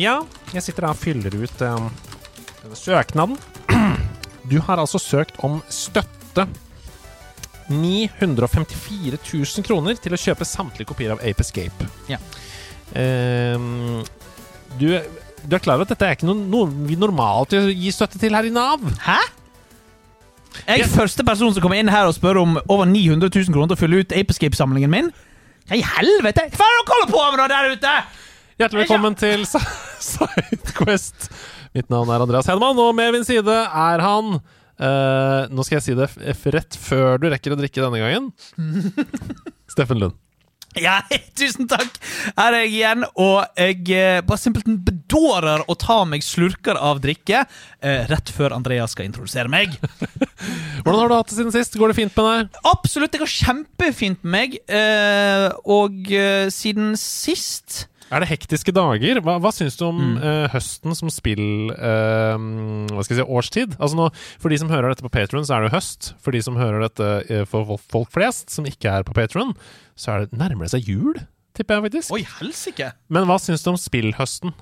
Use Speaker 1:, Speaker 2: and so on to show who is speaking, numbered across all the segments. Speaker 1: Ja, jeg sitter her og fyller ut eh, denne søknaden. Du har altså søkt om støtte. 954 000 kroner til å kjøpe samtlige kopier av Ape Escape.
Speaker 2: Ja.
Speaker 1: Eh, du, du er klar over at dette er ikke noe, noe vi normalt gir støtte til her i Nav?
Speaker 2: Hæ? Jeg
Speaker 1: Ja.
Speaker 2: er første person som kommer inn her og spør om over 900 000 kroner til å fylle ut Apescape-samlingen min. Ja, i helvete! Hva er det dere holder på med nå der ute?!
Speaker 1: Hjertelig velkommen til Sa- Sidequest. Mitt navn er Andreas Hedman, og med min side er han eh, Nå skal jeg si det f f rett før du rekker å drikke denne gangen. Steffen Lund.
Speaker 2: Ja, tusen takk! Her er jeg igjen, og jeg eh, bare simpelthen bedårer å ta meg slurker av drikke eh, rett før Andreas skal introdusere meg.
Speaker 1: Hvordan har du hatt det siden sist? Går det fint med deg?
Speaker 2: Absolutt, jeg har kjempefint med meg, eh, og eh, siden sist
Speaker 1: Er det hektiske dager? Hva, hva syns du om eh, høsten som spill eh, Hva skal jeg si årstid? Altså nå, For de som hører dette på Patron, så er det jo høst. For de som hører dette eh, for folk flest, som ikke er på Patron, så er det nærmer det seg jul, tipper jeg faktisk.
Speaker 2: Oi, helsike!
Speaker 1: Men hva syns du om spillhøsten?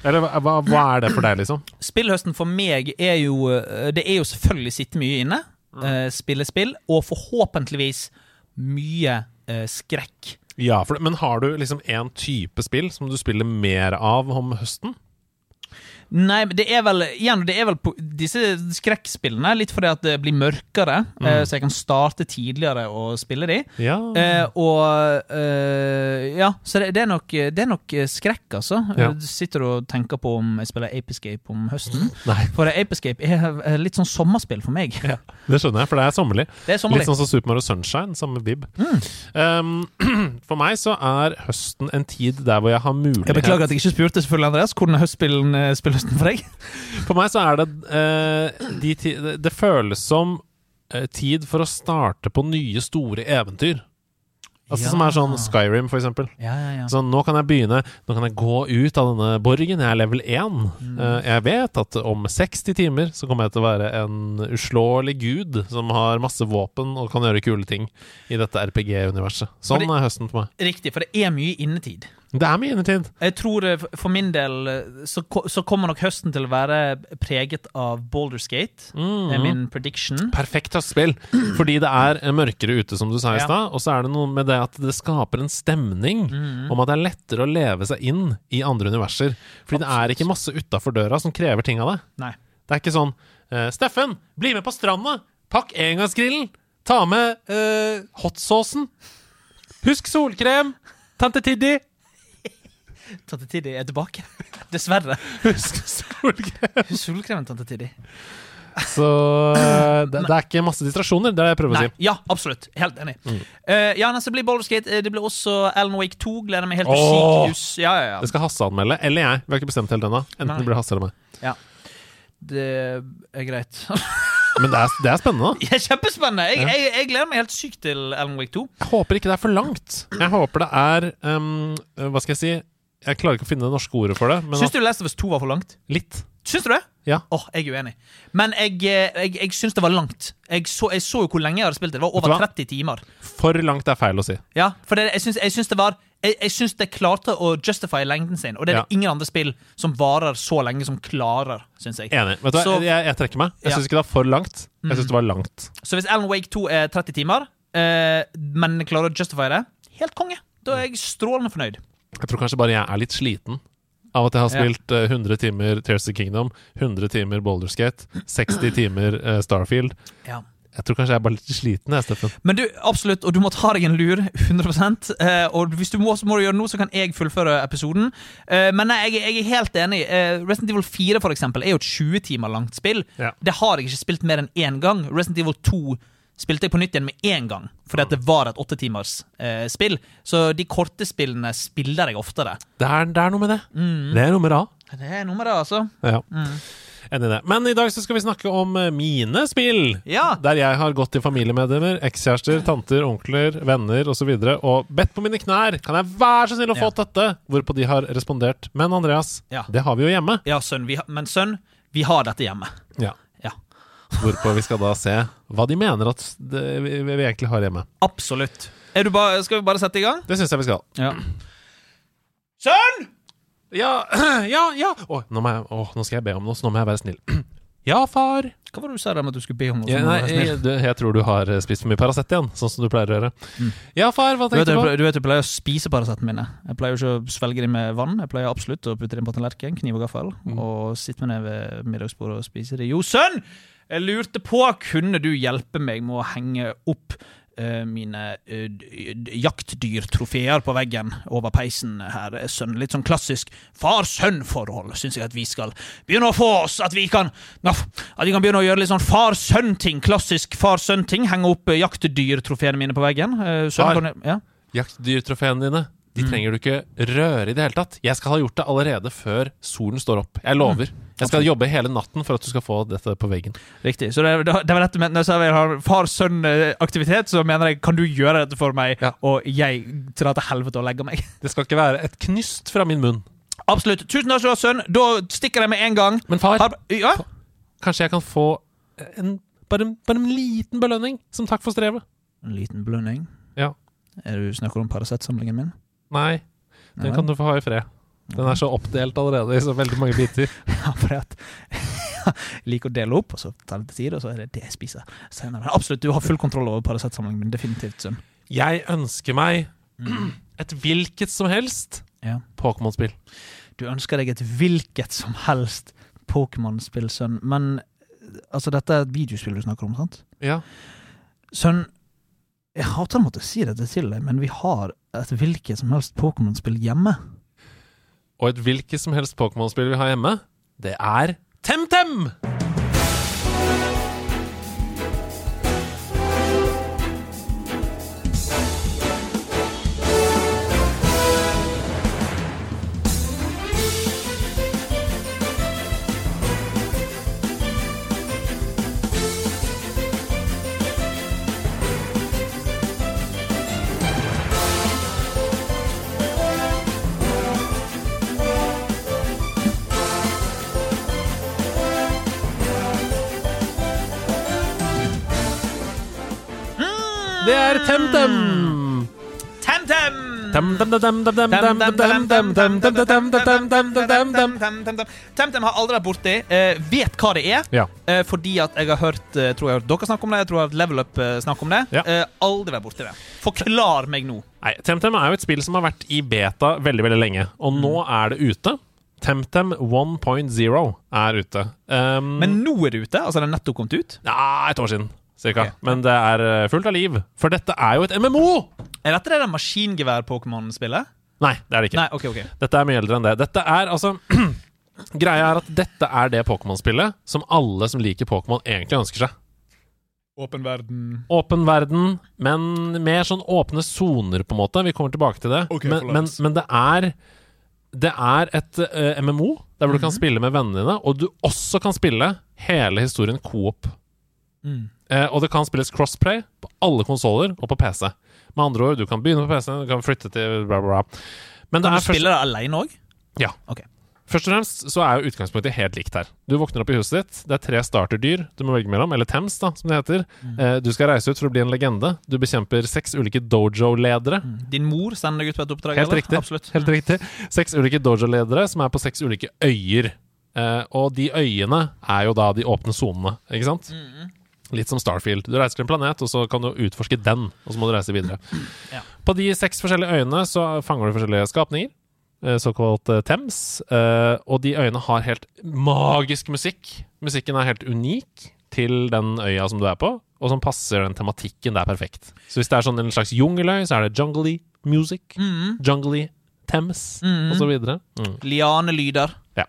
Speaker 1: Eller hva, hva- hva er det for deg, liksom?
Speaker 2: Spillhøsten for meg er jo eh, Det er jo selvfølgelig sitte mye inne, eh, spille spill, og forhåpentligvis mye eh, skrekk.
Speaker 1: Ja, for, det- Men har du liksom én type spill som du spiller mer av om høsten?
Speaker 2: Nei, men det er vel igjen, det er vel på disse skrekkspillene, litt fordi at det blir mørkere, eh, så jeg kan starte tidligere å spille de.
Speaker 1: Ja.
Speaker 2: Eh, og eh, Ja, så det, det, er nok, det er nok eh, skrekk, altså.
Speaker 1: Ja.
Speaker 2: Eh, Du sitter og tenker på om jeg spiller Ape Escape om høsten.
Speaker 1: Nei,
Speaker 2: For Ape Escape er eh, litt sånn sommerspill for meg.
Speaker 1: det skjønner jeg, for det er sommerlig. Mm.
Speaker 2: Det er sommerlig.
Speaker 1: Litt sånn som Super Mario Sunshine, samme vib. Um, for meg så er høsten en tid der hvor jeg har mulighet
Speaker 2: Jeg beklager at jeg ikke spurte selvfølgelig Andreas hvordan er høstspillen eh, spillhøsten for deg.
Speaker 1: For meg så er det eh, de ti det- Det føles som eh, tid for å starte på nye, store eventyr. Altså
Speaker 2: Ja.
Speaker 1: Som er sånn Skyrim, for eksempel.
Speaker 2: Ja, ja, ja.
Speaker 1: Så nå kan jeg begynne Nå kan jeg gå ut av denne borgen. Jeg er level 1.
Speaker 2: Mm.
Speaker 1: Eh, Jeg vet at om 60 timer så kommer jeg til å være en uslåelig gud som har masse våpen og kan gjøre kule ting i dette RPG-universet. Sånn
Speaker 2: Fordi-
Speaker 1: er høsten for meg.
Speaker 2: Riktig, for det er mye innetid.
Speaker 1: Det er mye innetid.
Speaker 2: Jeg tror eh, for- for min del eh, så, ko- så kommer nok høsten til å være preget av Boulderskate. Det
Speaker 1: Mhm.
Speaker 2: er min prediction.
Speaker 1: Perfekt høstspill, fordi det er mørkere ute, som du sa i
Speaker 2: Ja.
Speaker 1: stad. Og så er det noe med det at det skaper en stemning
Speaker 2: Mm.
Speaker 1: om at det er lettere å leve seg inn i andre universer. Fordi det er ikke masse utafor døra som krever ting av deg.
Speaker 2: Nei.
Speaker 1: Det er ikke sånn eh, Steffen, bli med på stranda! Pakk engangsgrillen! Ta med uh, hotsaucen! Husk solkrem! Tante Tiddi!
Speaker 2: Tante Tiddi er tilbake. Dessverre.
Speaker 1: Husk solkrem!
Speaker 2: Solkremen Tante Tiddi.
Speaker 1: Så eh, det, det er ikke masse distrasjoner, det er det jeg prøver å
Speaker 2: Nei,
Speaker 1: si.
Speaker 2: ja, absolutt. Helt enig.
Speaker 1: Mm.
Speaker 2: Eh, ja, nei, så blir Boulderskate eh, Det blir også Alan Wake 2. Gleder meg helt til
Speaker 1: Åh!
Speaker 2: sykehus. Ja, ja, ja.
Speaker 1: Det skal Hasse anmelde, eller jeg. Vi har ikke bestemt helt ennå. Enten
Speaker 2: Nei.
Speaker 1: det blir Hasse eller meg.
Speaker 2: Det er greit.
Speaker 1: Men det er, det er spennende. da.
Speaker 2: Det er kjempespennende! Jeg,
Speaker 1: Ja.
Speaker 2: jeg, jeg gleder meg helt sykt til Alan Wake 2.
Speaker 1: Jeg håper ikke det er for langt. Jeg håper det er ehm, Hva skal jeg si? Jeg klarer ikke å finne det norske ordet for det, men
Speaker 2: Syns du Last of Us 2 var for langt?
Speaker 1: at litt.
Speaker 2: Syns du det?
Speaker 1: Ja.
Speaker 2: Åh, jeg er uenig. Men jeg, eh, jeg, jeg syns det var langt. Jeg så, jeg så jo hvor lenge jeg hadde spilt det. Det var
Speaker 1: Vet du hva?
Speaker 2: over 30 timer.
Speaker 1: For langt er feil å si.
Speaker 2: Ja, For det, jeg syns- jeg syns det var jeg, jeg syns det klarte å justify lengden sin, og det er det ingen andre spill som varer så lenge som klarer, syns jeg.
Speaker 1: Enig. Vet du hva,
Speaker 2: Så-
Speaker 1: jeg, jeg trekker meg. Jeg
Speaker 2: Ja. Mm.
Speaker 1: syns ikke det er for langt. Jeg syns det var langt.
Speaker 2: Så hvis Alan Wake 2 er 30 timer, eh, men klarer å justify det, helt konge. Da er jeg strålende fornøyd.
Speaker 1: Jeg tror kanskje bare jeg er litt sliten av at jeg har
Speaker 2: Ja.
Speaker 1: spilt eh, 100 timer Tears of the Kingdom, 100 timer Boulderskate, 60 timer eh, Starfield.
Speaker 2: Ja
Speaker 1: Jeg tror kanskje jeg er bare litt sliten, jeg, Steffen.
Speaker 2: Men du, absolutt, og du må ta deg en lur, 100 eh, Og hvis du må, så må du gjøre det nå, så kan jeg fullføre episoden. Eh, men nei, jeg, jeg er helt enig. Eh, Resident Evil 4 for eksempel, er jo et 20 timer langt spill.
Speaker 1: Ja.
Speaker 2: Det har jeg ikke spilt mer enn én gang. Resident Evil 2 spilte jeg på nytt igjen med én gang, fordi at det var et åttetimers eh, spill. Så de korte spillene spiller jeg oftere. Mm.
Speaker 1: Det er, det er noe med det. Det er noe med det.
Speaker 2: Det er noe med det, altså.
Speaker 1: Ja. Enig i det. Men i dag så skal vi snakke om eh, mine spill.
Speaker 2: Ja.
Speaker 1: Der jeg har gått til familiemedlemmer, ekskjærester, tanter, onkler, venner osv. Og, så videre, og bedt på mine knær Kan jeg være så snill å få dette? Hvorpå de har respondert. Men Andreas,
Speaker 2: Ja.
Speaker 1: det har vi jo hjemme.
Speaker 2: Ja, sønn, vi, har- men sønn, vi har dette hjemme.
Speaker 1: Ja.
Speaker 2: Ja,
Speaker 1: Hvorpå vi skal da se hva de mener at det, vi, vi egentlig har hjemme.
Speaker 2: absolutt. Er du ba, skal vi bare sette i gang?
Speaker 1: Det syns jeg vi skal.
Speaker 2: Ja. Sønn!
Speaker 1: Ja, ja, ja. Å, nå, må jeg, å, nå skal jeg be om noe, så nå må jeg være snill. Ja, far.
Speaker 2: Hva var det du sa der med at du skulle be om noe?
Speaker 1: Ja,
Speaker 2: som
Speaker 1: nei,
Speaker 2: var snill?
Speaker 1: jeg, du, jeg tror du har eh, spist for mye Paracet igjen, sånn som du pleier å gjøre. Ja, far, hva
Speaker 2: Du vet,
Speaker 1: tenkte
Speaker 2: jeg,
Speaker 1: du på?
Speaker 2: ple- du vet jeg pleier å spise Paracetene mine. Jeg pleier jo ikke å svelge dem med vann. Jeg pleier absolutt å putte dem på tallerken, kniv og gaffel,
Speaker 1: Mm.
Speaker 2: og sitte med dem ved middagsbordet og spise dem. Jo, sønn! Jeg lurte på, kunne du hjelpe meg med å henge opp eh, mine eh, d- d- jaktdyrtrofeer på veggen over peisen her, eh, sønn? Litt sånn klassisk far-sønn-forhold, syns jeg at vi skal begynne å få oss. At vi kan, Nå, at vi kan begynne å gjøre litt sånn far-sønn-ting. Klassisk far-sønn-ting. Henge opp eh, jaktdyrtrofeene mine på veggen. Eh,
Speaker 1: Far.
Speaker 2: sønn, kan du, ja?
Speaker 1: Jaktdyrtrofeene dine. De trenger du ikke røre i det hele tatt. Jeg skal ha gjort det allerede før solen står opp. Jeg lover. Jeg skal jobbe hele natten for at du skal få dette på veggen.
Speaker 2: Riktig. Så det, er- det var dette med, Når jeg sa jeg har far-sønn-aktivitet, så mener jeg kan du gjøre dette for meg,
Speaker 1: Ja.
Speaker 2: og jeg drar til helvete og legger meg.
Speaker 1: Det skal ikke være et knyst fra min munn.
Speaker 2: Absolutt. Tusen takk skal du ha, sønn. Da stikker jeg med en gang.
Speaker 1: Men far,
Speaker 2: Har, ja?
Speaker 1: kanskje jeg kan få eh, en, bare, en, bare en liten belønning som takk for strevet?
Speaker 2: En liten blønning.
Speaker 1: Ja.
Speaker 2: Er du snakker om Paracet-samlingen min?
Speaker 1: Nei, den kan du få ha i fred. Den er så oppdelt allerede i så veldig mange biter.
Speaker 2: Ja, for at jeg liker å dele opp, og så tar det tid, og så er det det jeg spiser senere. Men Absolutt, du har full kontroll over Paracet-samlingen min. Definitivt, sønn. Mm.
Speaker 1: Jeg ønsker meg et hvilket som helst
Speaker 2: Ja.
Speaker 1: Pokémon-spill.
Speaker 2: Du ønsker deg et hvilket som helst Pokémon-spill, sønn, men altså, dette er et videospill du snakker om, sant?
Speaker 1: Ja.
Speaker 2: Sønn, jeg hater å måtte si dette til deg, men vi har et hvilket som helst Pokémon-spill hjemme.
Speaker 1: Og et hvilket som helst Pokémon-spill vi har hjemme, det er TemTem! Det er TemTem!
Speaker 2: TemTem! TemTem har aldri vært borti. eh, vet hva det er,
Speaker 1: Ja.
Speaker 2: eh, fordi at jeg har hørt eh, tror jeg har hørt dere snakke om det. Jeg tror jeg har hørt Level Up eh, snakke om det.
Speaker 1: Ja.
Speaker 2: Eh, aldri vært borti det. Forklar meg nå.
Speaker 1: Nei, TemTem er jo et spill som har vært i beta veldig, veldig lenge, og nå
Speaker 2: Mm.
Speaker 1: er det ute. TemTem 1.0 er ute. Um,
Speaker 2: Men nå er det ute. Altså, det er nettopp kommet ut.
Speaker 1: ja, et år siden, cirka.
Speaker 2: Ok.
Speaker 1: Men det er eh, fullt av liv, for dette er jo et MMO!
Speaker 2: Er dette det der maskingevær-Pokémon-spillet?
Speaker 1: Nei, det er det ikke.
Speaker 2: Nei, OK, OK.
Speaker 1: Dette er mye eldre enn det. Dette er altså Greia er at dette er det Pokémon-spillet som alle som liker Pokémon, egentlig ønsker seg.
Speaker 2: Åpen verden.
Speaker 1: Åpen verden, men mer sånn åpne soner, på en måte. Vi kommer tilbake til det.
Speaker 2: Ok,
Speaker 1: men,
Speaker 2: forlat.
Speaker 1: men, men det er Det er et eh, MMO der hvor du kan spille med vennene dine, og du også kan spille hele historien coop.
Speaker 2: Mm.
Speaker 1: Eh, og det kan spilles crossplay på alle konsoller og på PC. Med andre ord, du kan begynne på PC, du kan flytte til bla, bla, bla. Men det er
Speaker 2: Kan du
Speaker 1: først-
Speaker 2: spille det alene òg?
Speaker 1: Ja.
Speaker 2: Ok.
Speaker 1: Først og fremst så er jo utgangspunktet helt likt her. Du våkner opp i huset ditt, det er tre starterdyr du må velge mellom, eller Tems, da, som det heter. Eh, Du skal reise ut for å bli en legende. Du bekjemper seks ulike dojo-ledere.
Speaker 2: Din mor sender deg ut på et oppdrag?
Speaker 1: Mm. Helt
Speaker 2: eller?
Speaker 1: riktig.
Speaker 2: Absolutt.
Speaker 1: Helt riktig. Seks ulike dojo-ledere som er på seks ulike øyer. Eh, og de øyene er jo da de åpne sonene, ikke sant? Litt som Starfield. Du reiser til en planet, og så kan du utforske den, og så må du reise videre.
Speaker 2: Ja.
Speaker 1: På de seks forskjellige øyene så fanger du forskjellige skapninger, eh, såkalt eh, Thames, eh, og de øyene har helt magisk musikk. Musikken er helt unik til den øya som du er på, og som passer den tematikken der perfekt. Så hvis det er sånn en slags jungeløy, så er det jungly
Speaker 2: Mm.
Speaker 1: music, jungly Thames, og så videre. Mm.
Speaker 2: Lianelyder.
Speaker 1: Ja.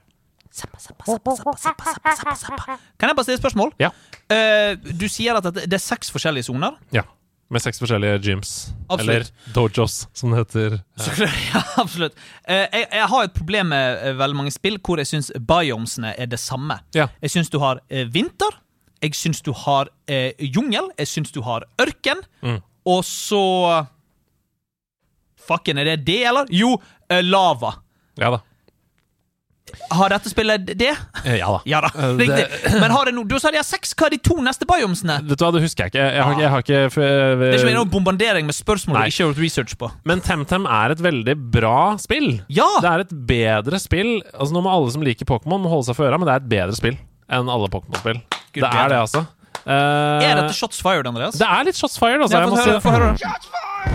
Speaker 2: Zappa, zappa, zappa, zappa, zappa, zappa, zappa, zappa. Kan jeg bare stille et spørsmål?
Speaker 1: Ja.
Speaker 2: Eh, du sier at det det er seks forskjellige soner.
Speaker 1: Ja. Med seks forskjellige gyms.
Speaker 2: Absolutt.
Speaker 1: Eller dojos, som det heter.
Speaker 2: Så- Ja, absolutt. Eh, jeg, jeg har et problem med eh, veldig mange spill hvor jeg syns biomsene er det samme.
Speaker 1: Ja.
Speaker 2: Jeg syns du har eh, vinter, jeg syns du har eh, jungel, jeg syns du har ørken,
Speaker 1: Mm.
Speaker 2: og så Fucken, er det det, eller? Jo, eh, lava.
Speaker 1: Ja da.
Speaker 2: Har dette spillet det?
Speaker 1: Eh, Ja da.
Speaker 2: Ja da,
Speaker 1: Eh, det-
Speaker 2: riktig. Men har det no, du sa de har seks. Hva er de to neste biomsene?
Speaker 1: Vet du hva, det husker jeg ikke. Jeg, jeg, har, ikke- jeg har ikke for- jeg-
Speaker 2: Det er ikke noen bombardering med spørsmål
Speaker 1: Eh, Nei.
Speaker 2: du ikke har gjort research på.
Speaker 1: Men TemTem er et veldig bra spill.
Speaker 2: Ja!
Speaker 1: Det er et bedre spill. Altså Nå må alle som liker Pokémon, må holde seg for øra, men det er et bedre spill enn alle Pokémon-spill. Det
Speaker 2: bedre.
Speaker 1: er det, altså. Eh,
Speaker 2: Er dette shots fired, Andreas?
Speaker 1: det er litt shots fired, altså.
Speaker 2: Ja,
Speaker 1: jeg
Speaker 2: få
Speaker 1: må
Speaker 2: høre,
Speaker 1: si Mm.
Speaker 2: få høre.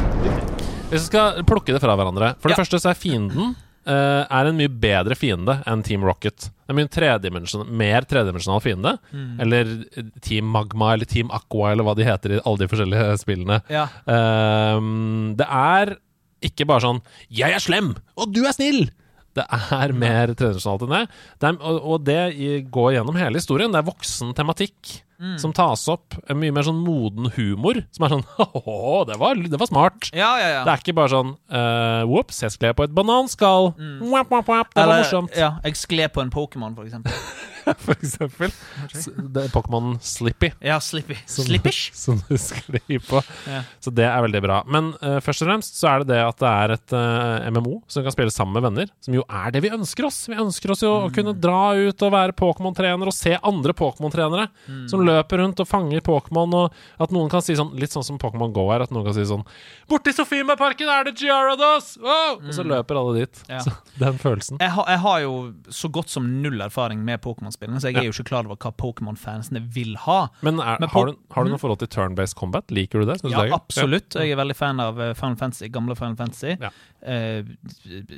Speaker 1: Hvis vi skal plukke det fra hverandre For det
Speaker 2: Ja.
Speaker 1: første så er fienden eh, Er en mye bedre fiende enn Team Rocket Det er mye en tredimensjon- mer tredimensjonal fiende
Speaker 2: Mm.
Speaker 1: Eller eh, Team Magma Eller Team Aqua Eller hva de heter i alle de forskjellige spillene
Speaker 2: Ja.
Speaker 1: Ehm, Det er ikke bare sånn Jeg er slem, og du er snill det er mer tredimensjonalt enn det. det er, og, og det i- går gjennom hele historien. Det er voksen tematikk
Speaker 2: Mm.
Speaker 1: som tas opp. En Mye mer sånn moden humor. Som er sånn Å, det var, det var smart!
Speaker 2: Ja, ja, ja.
Speaker 1: Det er ikke bare sånn uh, Ops, jeg skled på et bananskall. Wap, wap, wap. Det var
Speaker 2: Mm. Eller,
Speaker 1: morsomt.
Speaker 2: Ja, jeg skled på en Pokémon, for eksempel.
Speaker 1: For eksempel. S- Det er Pokémon Slippy.
Speaker 2: Ja, Slippy.
Speaker 1: Som-
Speaker 2: Slippish?
Speaker 1: Som Sånn- du sklir på.
Speaker 2: Ja.
Speaker 1: Så det er veldig bra. Men eh, først og fremst så er det det at det er et eh, MMO som kan spille sammen med venner, som jo er det vi ønsker oss. Vi ønsker oss jo å
Speaker 2: Mm.
Speaker 1: kunne dra ut og være Pokémon-trener og se andre Pokémon-trenere
Speaker 2: Mm.
Speaker 1: som løper rundt og fanger Pokémon, og at noen kan si sånn, litt sånn som Pokémon Go er, at noen kan si sånn Borti Sofiemarken er det Gyarados! Wow! Og så løper alle dit.
Speaker 2: Mm. Ja.
Speaker 1: Så den følelsen.
Speaker 2: Jeg har, jeg har jo så godt som null erfaring med Pokémon-spillene, så jeg er jo ikke klar over hva Pokémon-fansene vil ha.
Speaker 1: Men, er, har,
Speaker 2: Men Pok- Mm.
Speaker 1: du, har du noe forhold til turn-based combat? Liker du det? Synes du
Speaker 2: Ja,
Speaker 1: det er gøy?
Speaker 2: absolutt. Jeg er veldig fan av eh, Final Fantasy, gamle Final Fantasy.
Speaker 1: Ja.
Speaker 2: Eh,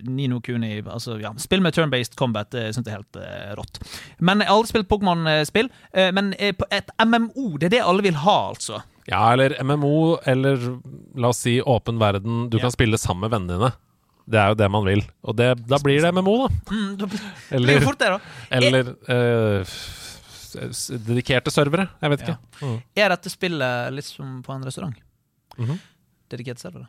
Speaker 2: Nino Kuni altså, ja. Spill med turn-based combat det syns jeg er helt eh, rått. Men jeg har aldri spilt Pokémon-spill. eh, men eh, på et MMO, det er det alle vil ha, altså.
Speaker 1: Ja, eller MMO, eller la oss si åpen verden. Du
Speaker 2: Ja.
Speaker 1: kan spille sammen med vennene dine. Det er jo det man vil. Og det, da blir det MMO, da.
Speaker 2: Mm, det blir jo
Speaker 1: Eller,
Speaker 2: fort det, da.
Speaker 1: eller eh, s- s- dedikerte servere. Jeg vet ikke. Mm.
Speaker 2: Er dette spillet litt som på en restaurant?
Speaker 1: Mhm.
Speaker 2: Dedikert server, da.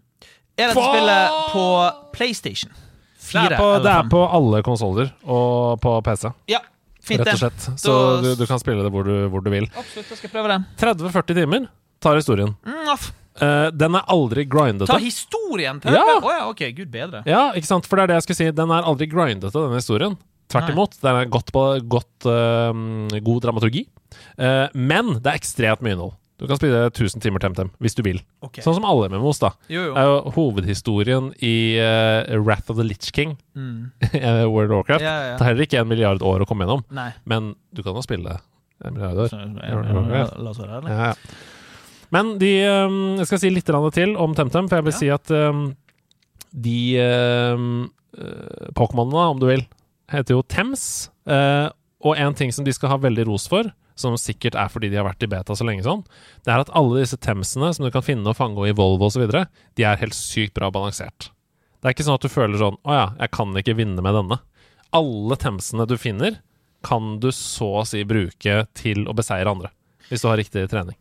Speaker 2: Er dette
Speaker 1: Hva?
Speaker 2: spillet på PlayStation?
Speaker 1: Det
Speaker 2: Fire
Speaker 1: er på, det
Speaker 2: eller
Speaker 1: er
Speaker 2: fem?
Speaker 1: på alle konsoller og på PC,
Speaker 2: Ja, fint
Speaker 1: rett
Speaker 2: det.
Speaker 1: og slett. Så
Speaker 2: Da-
Speaker 1: du, du kan spille det hvor du, hvor du vil.
Speaker 2: Absolutt, jeg skal prøve det.
Speaker 1: 30-40 timer tar historien.
Speaker 2: Mm, aff.
Speaker 1: Eh, den er aldri grindete.
Speaker 2: Ta historien! Prøve!
Speaker 1: Ja.
Speaker 2: Å ja, ok, gud bedre.
Speaker 1: Ja, ikke sant? For det er det jeg skulle si. Den er aldri grindete, denne historien. Tvert
Speaker 2: Nei.
Speaker 1: imot. Den er godt på, godt, øhm, god dramaturgi. Eh, men det er ekstremt mye innhold. Du kan spille 1000 timer TemTem hvis du vil.
Speaker 2: Ok.
Speaker 1: Sånn som alle MMOs, da.
Speaker 2: Jo,
Speaker 1: Det
Speaker 2: jo.
Speaker 1: er jo hovedhistorien i eh, Wrath of the Litch King,
Speaker 2: Mm.
Speaker 1: eh, World of
Speaker 2: Ja,
Speaker 1: Warcraft.
Speaker 2: ja,
Speaker 1: Det
Speaker 2: ja.
Speaker 1: er heller ikke en milliard år å komme gjennom,
Speaker 2: Nei.
Speaker 1: men du kan jo spille en milliard år.
Speaker 2: Så, ja, ja, ja, La oss være ærlige.
Speaker 1: Ja, ja. Men de øhm, Jeg skal si litt grann til om TemTem, for jeg vil
Speaker 2: Ja.
Speaker 1: si at øhm, de øhm, øh, Pokémonene, om du vil, heter jo Tems. eh, og en ting som de skal ha veldig ros for, som sikkert er fordi de har vært i beta så lenge, sånn, det er at alle disse Temsene som du kan finne og fange og i Volvo osv., de er helt sykt bra balansert. Det er ikke sånn at du føler sånn Å ja, jeg kan ikke vinne med denne. Alle Temsene du finner, kan du så å si bruke til å beseire andre. Hvis du har riktig trening.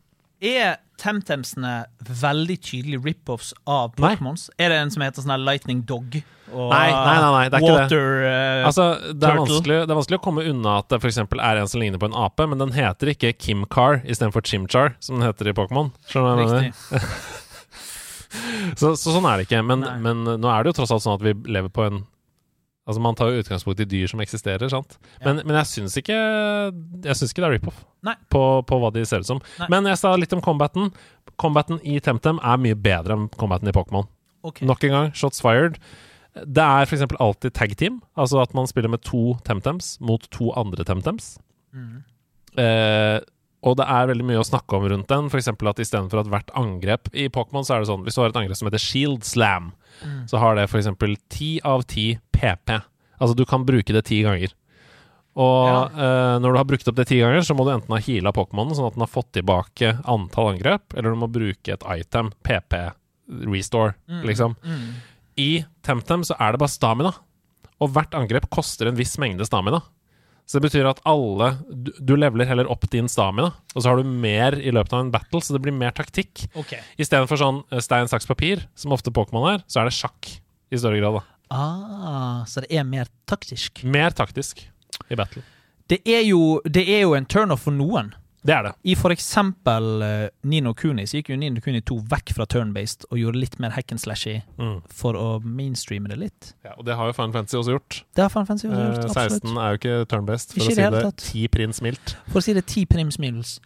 Speaker 2: Er Temtemsene veldig tydelige rip-offs av
Speaker 1: Nei.
Speaker 2: Pokémons? Er det en som heter sånn her Lightning Dog? Og
Speaker 1: Nei, nei, nei, nei, det er ikke det.
Speaker 2: Water eh,
Speaker 1: Altså, det, er
Speaker 2: Turtle.
Speaker 1: vanskelig, det er vanskelig å komme unna at det f.eks. er en som ligner på en ape, men den heter ikke Kimcar istedenfor Chimchar, som den heter i Pokémon. Skjønner du hva jeg mener?
Speaker 2: Riktig.
Speaker 1: Så, så sånn er det ikke. Men,
Speaker 2: Nei.
Speaker 1: men nå er det jo tross alt sånn at vi lever på en Altså, man tar jo utgangspunkt i dyr som eksisterer, sant. Men, men jeg syns ikke Jeg synes ikke det er rip-off
Speaker 2: Nei.
Speaker 1: på, på hva de ser ut som.
Speaker 2: Nei.
Speaker 1: Men jeg sa litt om combaten. Combaten i Temtem er mye bedre enn combaten i Pokémon.
Speaker 2: Ok.
Speaker 1: Nok en gang, shots fired. Det er f.eks. alltid tag team, altså at man spiller med to temtems mot to andre temtems.
Speaker 2: Mm.
Speaker 1: Eh, og det er veldig mye å snakke om rundt den, f.eks. at istedenfor at hvert angrep i Pokémon, så er det sånn hvis du har et angrep som heter Shield Slam,
Speaker 2: Mm.
Speaker 1: så har det f.eks. ti av ti PP. Altså du kan bruke det ti ganger. Og eh, når du har brukt opp det ti ganger, så må du enten ha heala Pokémonen, sånn at den har fått tilbake antall angrep, eller du må bruke et item, PP, restore, liksom.
Speaker 2: Mm.
Speaker 1: I TemTem så er det bare stamina, og hvert angrep koster en viss mengde stamina. Så det betyr at alle Du, du leveler heller opp din stamina, og så har du mer i løpet av en battle, så det blir mer taktikk.
Speaker 2: Ok.
Speaker 1: Istedenfor sånn eh, stein, saks, papir, som ofte Pokémon er, så er det sjakk i større grad. da
Speaker 2: Ah, så det er mer taktisk.
Speaker 1: Mer taktisk i battle.
Speaker 2: Det er jo, det er jo en turnoff for noen.
Speaker 1: Det er det.
Speaker 2: I for eksempel eh, Nino Kuni så gikk jo Nino Kuni 2 vekk fra turn-based og gjorde litt mer hack and slashy
Speaker 1: Mm.
Speaker 2: for å mainstreame det litt.
Speaker 1: Ja, og det har jo Final Fantasy også gjort.
Speaker 2: Det har Final Fantasy også
Speaker 1: Eh, 16
Speaker 2: gjort. absolutt.
Speaker 1: er jo ikke turn-based, for å
Speaker 2: Ikke i
Speaker 1: si
Speaker 2: det
Speaker 1: det
Speaker 2: hele tatt.
Speaker 1: ti prins mildt.
Speaker 2: For å si det ti prims middels.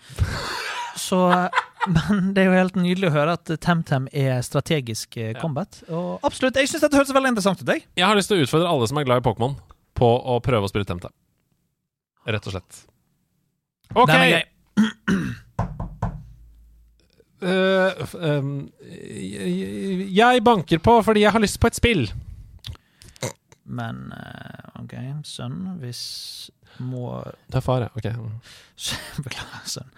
Speaker 2: Så eh, Men det er jo helt nydelig å høre at TemTem er strategisk eh,
Speaker 1: Ja.
Speaker 2: combat. Og absolutt, jeg syns dette hørtes veldig interessant ut. jeg.
Speaker 1: Jeg har lyst til å utfordre alle som er glad i Pokémon, på å prøve å spille Temte. Rett og slett. OK!
Speaker 2: Den er grei.
Speaker 1: Eh, f- ehm, jeg, jeg banker på fordi jeg har lyst på et spill.
Speaker 2: Men eh, OK, sønn, hvis må
Speaker 1: Det er far, ja. Ok.
Speaker 2: Beklager, sønn.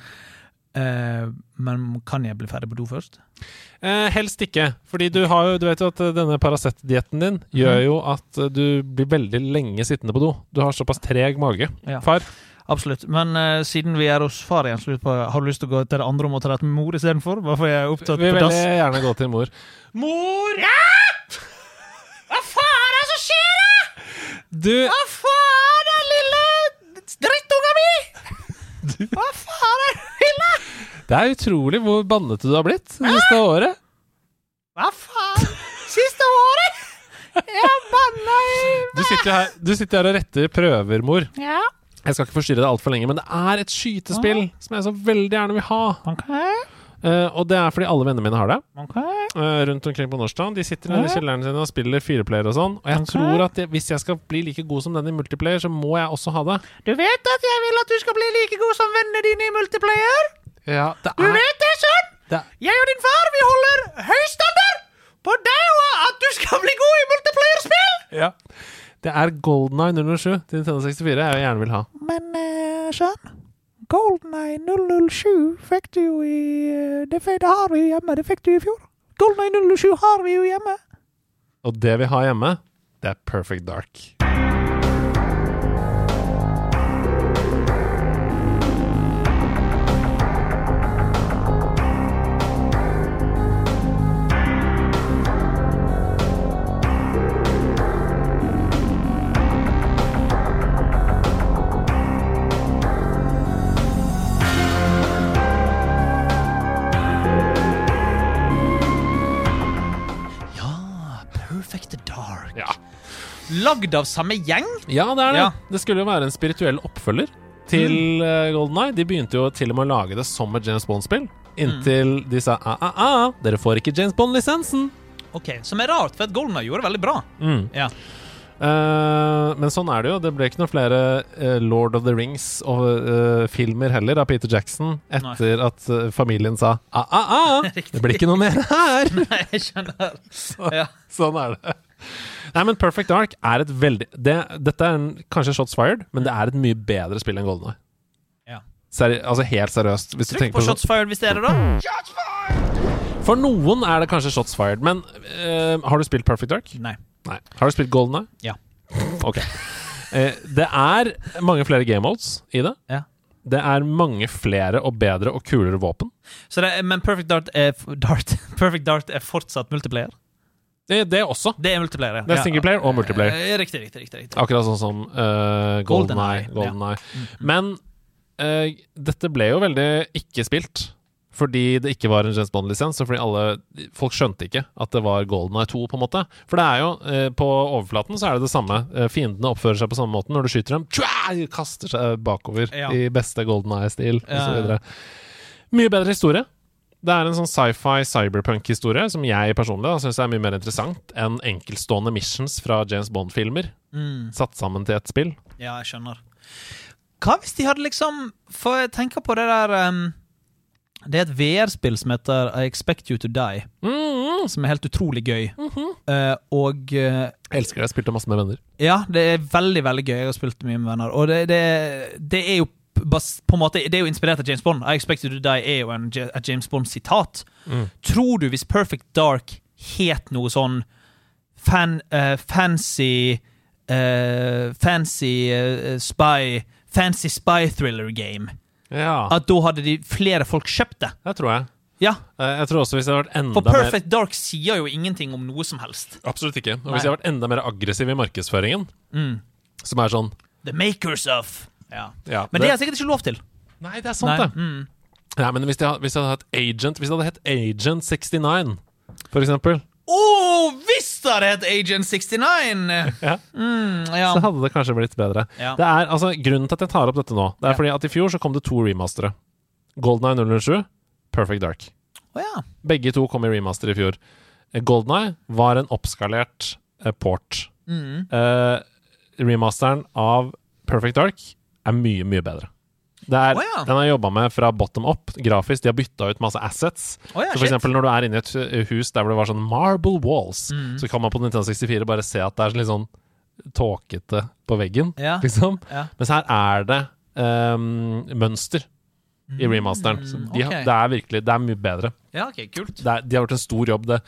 Speaker 2: Eh, men kan jeg bli ferdig på do først?
Speaker 1: Eh, helst ikke, fordi du, har jo, du vet jo at eh, denne Paracet-dietten din
Speaker 2: Mhm.
Speaker 1: gjør jo at eh, du blir veldig lenge sittende på do. Du har såpass treg mage.
Speaker 2: Ja.
Speaker 1: Far,
Speaker 2: Absolutt. Men eh, siden vi er hos far igjen, så lurer jeg på, har du lyst til å gå til det andre rommet og ta deg med mor istedenfor? Hvorfor jeg er
Speaker 1: vi
Speaker 2: opptatt
Speaker 1: vil
Speaker 2: på
Speaker 1: veldig
Speaker 2: dass?
Speaker 1: gjerne gå til mor. Mor!
Speaker 2: Hva faen er det som skjer, da?!
Speaker 1: Du,
Speaker 2: Hva faen er lille drittunga mi?! Hva faen er det lille?!
Speaker 1: det er utrolig hvor bannete du har blitt det
Speaker 2: Ah!
Speaker 1: siste året.
Speaker 2: Hva faen? Siste året! Jeg har banna i
Speaker 1: Du sitter, her, du sitter her og retter prøver, mor.
Speaker 2: Ja.
Speaker 1: Jeg skal ikke forstyrre deg altfor lenge, men det er et skytespill
Speaker 2: Ah.
Speaker 1: som jeg så veldig gjerne vil ha.
Speaker 2: OK.
Speaker 1: Eh, og det er fordi alle vennene mine har det.
Speaker 2: ok.
Speaker 1: eh, rundt omkring på Norskland. De sitter nede i
Speaker 2: Ja.
Speaker 1: kjelleren sin og spiller fireplayer og sånn. Og jeg
Speaker 2: Ok.
Speaker 1: tror at jeg, hvis jeg skal bli like god som den i multiplayer, så må jeg også ha det.
Speaker 2: Du vet at jeg vil at du skal bli like god som vennene dine i multiplayer?
Speaker 1: Ja, det
Speaker 2: Du
Speaker 1: er,
Speaker 2: vet det, sønn!
Speaker 1: det er
Speaker 2: Jeg og din far, vi holder høy standard på deg og at du skal bli god i multiplayerspill!
Speaker 1: ja. Det er Golden Eye 007 til Nintendo 64 jeg gjerne vil ha.
Speaker 2: Men eh, sønn, GoldenEye 007 fikk du jo i eh, det, fikk, det har vi jo hjemme, det fikk du i fjor. GoldenEye 007 har vi jo hjemme.
Speaker 1: Og det vi har hjemme, det er Perfect Dark.
Speaker 2: Ja, Perfect Dark.
Speaker 1: Ja,
Speaker 2: Lagd av samme gjeng?
Speaker 1: ja det er det.
Speaker 2: Ja. Mm.
Speaker 1: Det skulle jo være en spirituell oppfølger til Golden Eye. De begynte jo til og med å lage det som et James Bond-spill. Inntil
Speaker 2: Mm.
Speaker 1: de sa a-a-a, dere får ikke James Bond-lisensen.
Speaker 2: Ok, Som er rart, for at GoldenEye gjorde det veldig bra.
Speaker 1: Mm.
Speaker 2: Ja.
Speaker 1: Eh, men sånn er det jo. Det ble ikke noen flere eh, Lord of the Rings og eh, filmer heller av Peter Jackson etter at eh, familien sa ah, ah, ah,
Speaker 2: Riktig.
Speaker 1: det blir ikke noe mer her!
Speaker 2: Nei, jeg skjønner. Ja.
Speaker 1: sånn er det. Nei, men Perfect Dark er et veldig det, Dette er en, kanskje shots fired, men det er et mye bedre spill enn Golden Eye.
Speaker 2: Ja.
Speaker 1: Seri altså helt seriøst. Hvis du
Speaker 2: Trykk
Speaker 1: tenker
Speaker 2: på
Speaker 1: på sånn-
Speaker 2: shots fired hvis det er det, da.
Speaker 1: For noen er det kanskje shots fired, men eh, har du spilt Perfect Dark?
Speaker 2: Nei.
Speaker 1: Nei. Har du spilt Golden Eye?
Speaker 2: Ja.
Speaker 1: Ok. Eh, det er mange flere game modes i det.
Speaker 2: Ja.
Speaker 1: Det er mange flere og bedre og kulere våpen.
Speaker 2: Så det, er- men Perfect Dart er, f- Dart, Perfect Dart er fortsatt multiplayer?
Speaker 1: Det, det også.
Speaker 2: Det er multiplayer, ja.
Speaker 1: Det er
Speaker 2: Ja.
Speaker 1: singleplayer og multiplayer.
Speaker 2: Eh, Riktig, riktig. riktig, riktig.
Speaker 1: Akkurat sånn som eh, Golden Eye.
Speaker 2: GoldenEye, ja.
Speaker 1: Golden Eye.
Speaker 2: Mm,
Speaker 1: Men eh, dette ble jo veldig ikke spilt. Fordi det ikke var en James Bond-lisens, og fordi alle folk skjønte ikke at det var Golden Eye 2. på en måte. For det er jo, eh, på overflaten så er det det samme. Eh, fiendene oppfører seg på samme måten når du skyter dem. Tjua! De kaster seg bakover
Speaker 2: Ja.
Speaker 1: i beste Golden Eye-stil og
Speaker 2: Ja,
Speaker 1: så
Speaker 2: ja.
Speaker 1: videre Mye bedre historie. Det er en sånn sci-fi, cyberpunk-historie som jeg personlig syns er mye mer interessant enn enkeltstående missions fra James Bond-filmer
Speaker 2: Mm.
Speaker 1: satt sammen til ett spill.
Speaker 2: Ja, jeg skjønner. Hva hvis de hadde liksom For jeg tenker på det der ehm, Det er et VR-spill som heter I Expect You To Die,
Speaker 1: Mm,
Speaker 2: som er helt utrolig gøy. Eh, og eh,
Speaker 1: Elsker det. Jeg spilte masse med venner.
Speaker 2: ja, det er veldig veldig gøy. Jeg har spilt mye med venner. Og det, det, det er jo bas, på en måte, det er jo inspirert av James Bond. I Expect You To Die er jo en, Ja- et James Bond-sitat. Tror du hvis Perfect Dark het noe sånn fan, eh, fancy eh, fancy eh, spy Fancy spy thriller game.
Speaker 1: Ja,
Speaker 2: At da hadde de flere folk kjøpt det.
Speaker 1: det tror jeg.
Speaker 2: Ja,
Speaker 1: Eh, Jeg tror også hvis jeg hadde vært enda
Speaker 2: For
Speaker 1: mer
Speaker 2: Perfect Dark sier jo ingenting om noe som helst.
Speaker 1: Absolutt ikke. Og
Speaker 2: Nei.
Speaker 1: hvis jeg hadde vært enda mer aggressiv i markedsføringen,
Speaker 2: Mm.
Speaker 1: som er sånn
Speaker 2: The makers of ja.
Speaker 1: ja,
Speaker 2: Men det er sikkert ikke lov til.
Speaker 1: Nei, det er sant, det.
Speaker 2: Mm.
Speaker 1: Nei, men hvis jeg, hadde- hvis jeg hadde hatt Agent Hvis jeg hadde hett Agent 69, for eksempel,
Speaker 2: Oh, hvis det hadde hett Agent 69!
Speaker 1: Ja.
Speaker 2: Mm, ja.
Speaker 1: så hadde det kanskje blitt bedre.
Speaker 2: Ja.
Speaker 1: Det er, altså, grunnen til at jeg tar opp dette nå, det er
Speaker 2: Ja.
Speaker 1: fordi at i fjor så kom det to remastere. Golden Eye 007, Perfect Dark.
Speaker 2: Å ja.
Speaker 1: Begge to kom i remaster i fjor. Golden Eye var en oppskalert eh, port.
Speaker 2: Mm.
Speaker 1: Eh, remasteren av Perfect Dark er mye, mye bedre. Det er,
Speaker 2: Å ja.
Speaker 1: Den har jobba med fra bottom up, grafisk. De har bytta ut masse assets.
Speaker 2: Å
Speaker 1: Så
Speaker 2: ja,
Speaker 1: for
Speaker 2: shit.
Speaker 1: eksempel når du er inne i et hu- hus der hvor det var sånn marble walls,
Speaker 2: Mm.
Speaker 1: så kan man på 1964 bare se at det er litt sånn tåkete på veggen,
Speaker 2: Ja.
Speaker 1: liksom.
Speaker 2: Ja.
Speaker 1: Mens her er det ehm, mønster i remasteren. Så de, har-
Speaker 2: Mm. ok.
Speaker 1: Det er virkelig Det er mye bedre.
Speaker 2: ja, ok, kult.
Speaker 1: Det er, de har gjort en stor jobb. Det.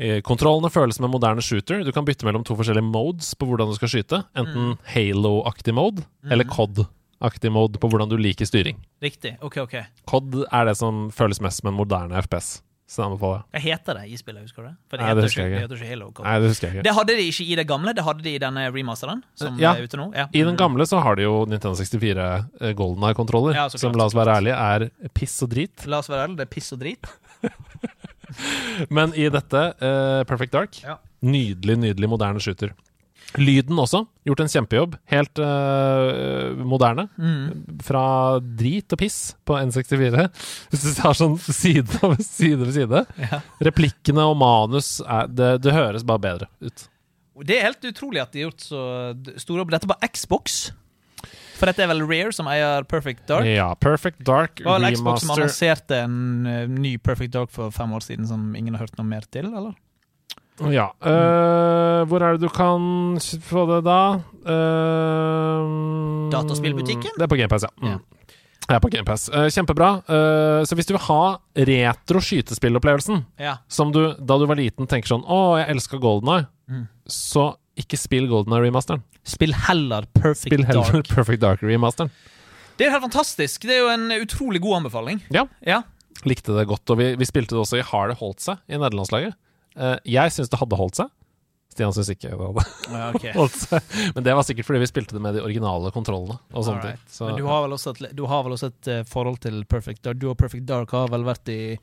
Speaker 1: eh, Kontrollene føles som en moderne shooter. Du kan bytte mellom to forskjellige modes på hvordan du skal skyte. Enten Halo-aktig mode eller COD-aktig mode på hvordan du liker styring.
Speaker 2: Riktig. Ok, ok.
Speaker 1: COD er det som føles mest som en moderne FPS. Så det anbefaler jeg.
Speaker 2: Hva heter det i spillet, husker du det? For det
Speaker 1: Nei,
Speaker 2: heter,
Speaker 1: det
Speaker 2: ikke,
Speaker 1: husker jeg ikke.
Speaker 2: det heter ikke Halo. Cop.
Speaker 1: Nei, det husker jeg ikke.
Speaker 2: Det hadde de ikke i det gamle, det hadde de i denne remasteren som
Speaker 1: Ja.
Speaker 2: er ute nå. Ja.
Speaker 1: I den gamle så har de jo Nintendo 64 Golden Eye-kontroller,
Speaker 2: Ja, så klart,
Speaker 1: som la oss være ærlige er piss og drit.
Speaker 2: La oss være ærlige, det er piss og drit.
Speaker 1: Men i dette, eh, Perfect Dark,
Speaker 2: Ja.
Speaker 1: nydelig, nydelig moderne shooter. Lyden også, gjort en kjempejobb. Helt eh, moderne.
Speaker 2: Mm.
Speaker 1: Fra drit og piss på N64. Hvis du har sånn side ved side. Ved side.
Speaker 2: Ja.
Speaker 1: Replikkene og manus er, det, det høres bare bedre ut.
Speaker 2: Og Det er helt utrolig at de har gjort så d- stor jobb. Dette var Xbox. For dette er vel Rare som eier Perfect Dark.
Speaker 1: Ja, Perfect Dark
Speaker 2: Det var vel Xbox som
Speaker 1: remaster.
Speaker 2: annonserte en eh, ny Perfect Dark for fem år siden som ingen har hørt noe mer til, eller?
Speaker 1: Ja. eh, hvor er det du kan få det, da? Eh,
Speaker 2: Dataspillbutikken?
Speaker 1: Det er på GamePass, ja. Mm.
Speaker 2: Ja.
Speaker 1: Det er på GamePass. Uh, kjempebra. Eh, så hvis du vil ha retro skytespillopplevelsen,
Speaker 2: Ja.
Speaker 1: som du da du var liten tenker sånn Å, jeg elska Golden Eye,
Speaker 2: Mm.
Speaker 1: så ikke spill Golden Eye-remasteren.
Speaker 2: Spill heller Perfect
Speaker 1: Spill heller
Speaker 2: Dark.
Speaker 1: Perfect Dark-remasteren.
Speaker 2: Det er helt fantastisk. Det er jo en utrolig god anbefaling.
Speaker 1: Ja.
Speaker 2: Ja.
Speaker 1: Likte det godt. Og vi, vi spilte det også i Har det holdt seg? i nederlandslaget. Eh, jeg syns det hadde holdt seg. Stian syns ikke det hadde
Speaker 2: Ja, ok.
Speaker 1: holdt seg. Altså, Men det var sikkert fordi vi spilte det med de originale kontrollene. og sånne ting.
Speaker 2: Alright.
Speaker 1: Så-
Speaker 2: Men du har vel også et, du har vel også et eh, forhold til Perfect Dark? Du og Perfect Dark har vel vært i,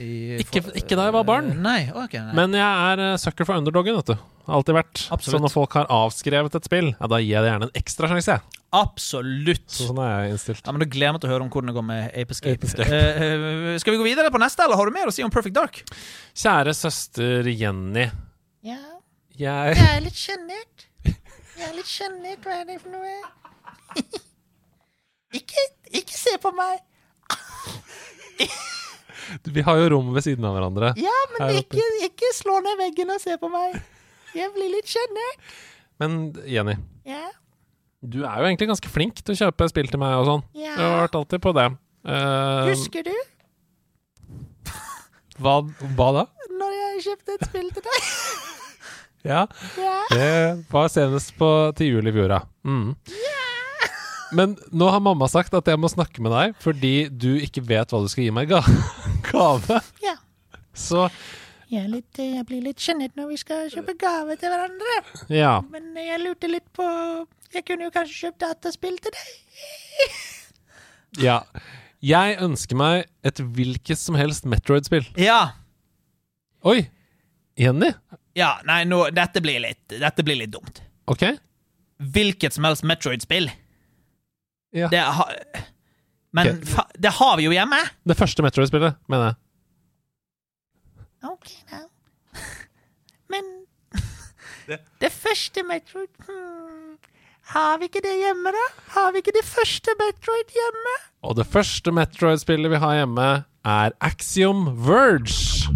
Speaker 2: i
Speaker 1: Ikke- ikke da jeg var barn.
Speaker 2: Eh, Nei, ok. Nei.
Speaker 1: Men jeg er eh, sucker for underdoggen, vet du. Alltid vært.
Speaker 2: Absolutt.
Speaker 1: Så når folk har avskrevet et spill, ja, da gir jeg det gjerne en ekstra sjanse. jeg.
Speaker 2: Absolutt.
Speaker 1: Så sånn er jeg innstilt.
Speaker 2: Ja, men Da gleder jeg meg til å høre om hvordan det går med Ape Escape.
Speaker 1: Ape Escape.
Speaker 2: Eh, eh, skal vi gå videre på neste, eller har du mer å si om Perfect Dark?
Speaker 1: Kjære søster Jenny.
Speaker 3: Ja,
Speaker 1: Jeg
Speaker 3: jeg er litt sjenert. Jeg er litt sjenert. Hva er det for noe? Ikke, ikke se på meg.
Speaker 1: Vi har jo rom ved siden av hverandre.
Speaker 3: Ja,
Speaker 1: Her
Speaker 3: men
Speaker 1: oppe.
Speaker 3: ikke, ikke slå ned veggen og se på meg. Jeg blir litt sjenert.
Speaker 1: Men Jenny,
Speaker 3: Ja.
Speaker 1: du er jo egentlig ganske flink til å kjøpe spill til meg og sånn.
Speaker 3: Ja.
Speaker 1: Du har vært alltid på det. Eh,
Speaker 3: Husker du
Speaker 1: hva, hva da?
Speaker 3: når jeg kjøpte et spill til deg?
Speaker 1: Ja,
Speaker 3: Ja.
Speaker 1: det var senest på, til jul i fjor, ja. Mm. Men nå har mamma sagt at jeg må snakke med deg fordi du ikke vet hva du skal gi meg i ga gave.
Speaker 3: ja.
Speaker 1: Så
Speaker 3: Jeg, er litt, eh, jeg blir litt sjenert når vi skal kjøpe gave til hverandre.
Speaker 1: ja.
Speaker 3: Men eh, jeg lurte litt på Jeg kunne jo kanskje kjøpt dataspill til deg.
Speaker 1: ja. Jeg ønsker meg et hvilket som helst Metroid-spill.
Speaker 2: Ja.
Speaker 1: Oi! Jenny?
Speaker 2: ja nei, nå, dette blir, litt, dette blir litt dumt.
Speaker 1: OK?
Speaker 2: Hvilket som helst Metroid-spill.
Speaker 1: Ja.
Speaker 2: Det har Men
Speaker 1: Ok.
Speaker 2: fa, det har vi jo hjemme!
Speaker 1: Det første Metroid-spillet, mener jeg.
Speaker 3: Ok, da. Men det første Metroid hmm. Har vi ikke det hjemme, da? Har vi ikke det første Metroid hjemme?
Speaker 1: Og det første Metroid-spillet vi har hjemme, er Axiom Verge.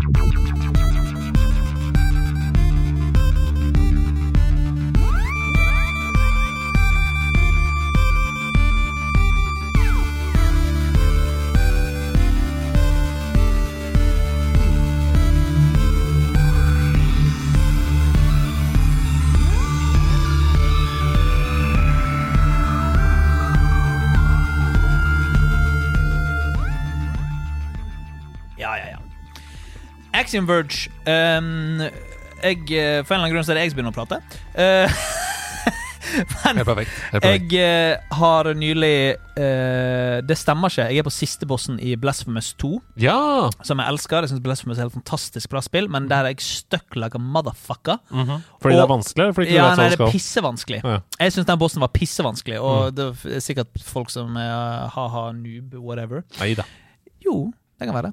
Speaker 2: Axiom Verge um, jeg, eh, For en eller annen grunn så er det jeg som begynner å prate. Eh, men
Speaker 1: Helt perfekt. Helt perfekt.
Speaker 2: jeg eh, har nylig eh, Det stemmer ikke. Jeg er på siste bossen i Blasphemous 2,
Speaker 1: Ja!
Speaker 2: som jeg elsker. Jeg synes Blasphemous er et helt fantastisk bra spill, men der er jeg stuck like a motherfucker.
Speaker 1: Fordi det
Speaker 2: Og-
Speaker 1: er vanskelig? eller Fordi ikke du
Speaker 2: Ja,
Speaker 1: vet hva
Speaker 2: nei,
Speaker 1: du
Speaker 2: det er
Speaker 1: skal?
Speaker 2: pissevanskelig.
Speaker 1: Ja. Mm.
Speaker 2: Jeg syns den bossen var pissevanskelig, og det er sikkert folk som eh, ha-ha, noob, whatever.
Speaker 1: Neida.
Speaker 2: Jo, det kan være.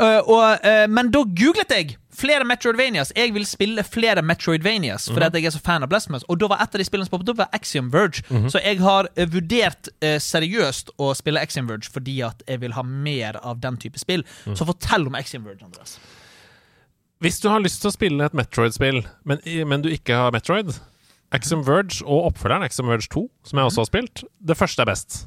Speaker 2: Eh, og, eh, men da googlet jeg flere Metroidvanias. Jeg vil spille flere Metroidvanias fordi
Speaker 1: Mhm.
Speaker 2: at jeg er så fan av Blasphemous. Og da var et av de spillene som poppet opp, var Axiom Verge.
Speaker 1: Mhm.
Speaker 2: Så jeg har eh, vurdert eh, seriøst å spille Axiom Verge fordi at jeg vil ha mer av den type spill.
Speaker 1: Mm.
Speaker 2: Så fortell om Axiom Verge, Andreas.
Speaker 1: Hvis du har lyst til å spille et Metroid-spill, men, i- men du ikke har Metroid Axiom Verge og oppfølgeren Axiom Verge 2, som jeg også har spilt, det første er best.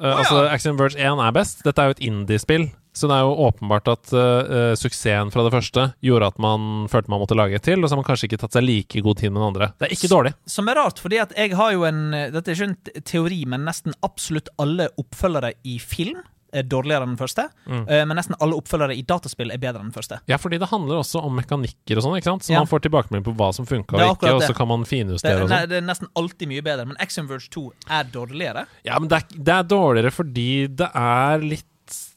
Speaker 1: Eh,
Speaker 2: Mhm. Å,
Speaker 1: Altså,
Speaker 2: ja.
Speaker 1: Axiom Verge 1 er best. Dette er jo et indie-spill, så det er jo åpenbart at eh, eh, suksessen fra det første gjorde at man følte man måtte lage et til, og så har man kanskje ikke tatt seg like god tid med den andre. Det er ikke dårlig.
Speaker 2: Som er rart, fordi at jeg har jo en eh, Dette er ikke en te- teori, men nesten absolutt alle oppfølgere i film er dårligere enn den første. eh, Men nesten alle oppfølgere i dataspill er bedre enn den første.
Speaker 1: Ja, fordi det handler også om mekanikker og sånn, ikke sant? Så
Speaker 2: Ja.
Speaker 1: man får tilbakemelding på hva som funka
Speaker 2: Det er
Speaker 1: og ikke,
Speaker 2: akkurat
Speaker 1: og
Speaker 2: det.
Speaker 1: så kan man
Speaker 2: Det,
Speaker 1: finjustere og
Speaker 2: nei,
Speaker 1: sånn.
Speaker 2: det er nesten alltid mye bedre, men Axiom Verge 2 er dårligere.
Speaker 1: Ja, men det er, det er dårligere fordi det er litt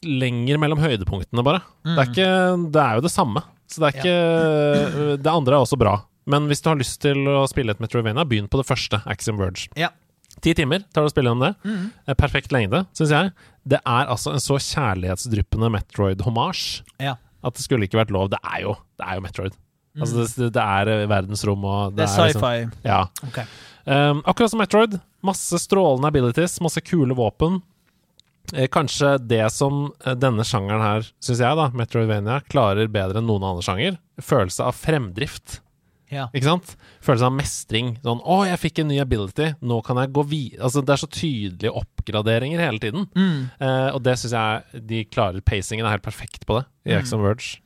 Speaker 1: lenger mellom høydepunktene, bare. Det,
Speaker 2: Mm.
Speaker 1: er ikke, det er jo det samme. Så det er ikke øh, Det andre er også bra. Men hvis du har lyst til å spille et Metrovania, begynn på det første, Axiom Verge.
Speaker 2: Ja.
Speaker 1: Ti timer tar det å spille om det.
Speaker 2: Mm.
Speaker 1: Eh, Perfekt lengde, syns jeg. Det er altså en så kjærlighetsdryppende Metroid-hommage
Speaker 2: Ja.
Speaker 1: at det skulle ikke vært lov. Det er jo, det er jo Metroid. Altså, det, det er eh, verdensrom og
Speaker 2: Mm. Det er
Speaker 1: liksom-
Speaker 2: sci-fi.
Speaker 1: ja.
Speaker 2: Ok.
Speaker 1: Um, akkurat som Metroid. Masse strålende abilities, masse kule våpen. Eh, kanskje det som eh, denne sjangeren her, syns jeg, da, Metroidvania, klarer bedre enn noen andre sjanger. Følelse av fremdrift,
Speaker 2: Ja.
Speaker 1: ikke sant? Følelse av mestring. Sånn 'Å, jeg fikk en ny ability. Nå kan jeg gå videre.' Altså, det er så tydelige oppgraderinger hele tiden.
Speaker 2: Mm.
Speaker 1: Eh, og det syns jeg de klarer. Pacingen er helt perfekt på det i
Speaker 2: Mm.
Speaker 1: Exxon Verge.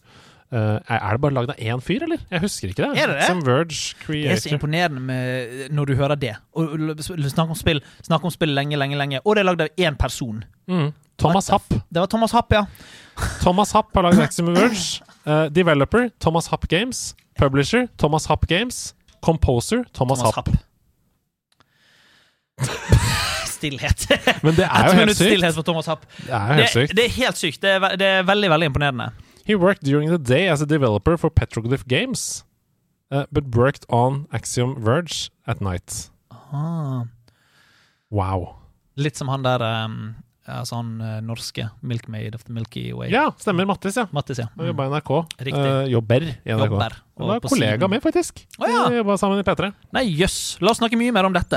Speaker 1: Eh, er er det bare lagd av én fyr, eller? Jeg husker ikke det.
Speaker 2: Er det det?
Speaker 1: Exxon Verge
Speaker 2: Det er så
Speaker 1: Creator.
Speaker 2: imponerende med, når du hører det. Og, og, og, snakk om spill Snakk om spill lenge, lenge, lenge. Og det er lagd av én person.
Speaker 1: Mm. Thomas
Speaker 2: What
Speaker 1: Happ.
Speaker 2: Det var Thomas Happ, ja.
Speaker 1: Thomas Happ har lagd Maximum Verge. Eh, developer Thomas Happ Games. Publisher Thomas Happ Games. Composer Thomas, Happ.
Speaker 2: Stillhet.
Speaker 1: Men det er
Speaker 2: Ett
Speaker 1: jo helt
Speaker 2: minutts
Speaker 1: sykt.
Speaker 2: stillhet for Thomas Happ.
Speaker 1: Det er jo
Speaker 2: Det,
Speaker 1: helt sykt.
Speaker 2: det er helt sykt. Det er, ve- det er veldig, veldig imponerende.
Speaker 1: He worked during the day as a developer for Petroglyph Games, eh, but worked on Axiom Verge at night.
Speaker 2: Ah.
Speaker 1: Wow.
Speaker 2: Litt som han der um, Altså han eh, norske Milkmaid of the Milky Way.
Speaker 1: Ja, stemmer. Mattis, ja.
Speaker 2: Mattis, ja.
Speaker 1: Han
Speaker 2: Mm.
Speaker 1: jobba i NRK.
Speaker 2: Riktig.
Speaker 1: Eh, jobber i NRK.
Speaker 2: Jobber.
Speaker 1: Han var
Speaker 2: Og på
Speaker 1: kollega
Speaker 2: siden.
Speaker 1: med, faktisk.
Speaker 2: Å, ja.
Speaker 1: Vi jobba sammen i P3.
Speaker 2: Nei, jøss. La oss snakke mye mer om dette.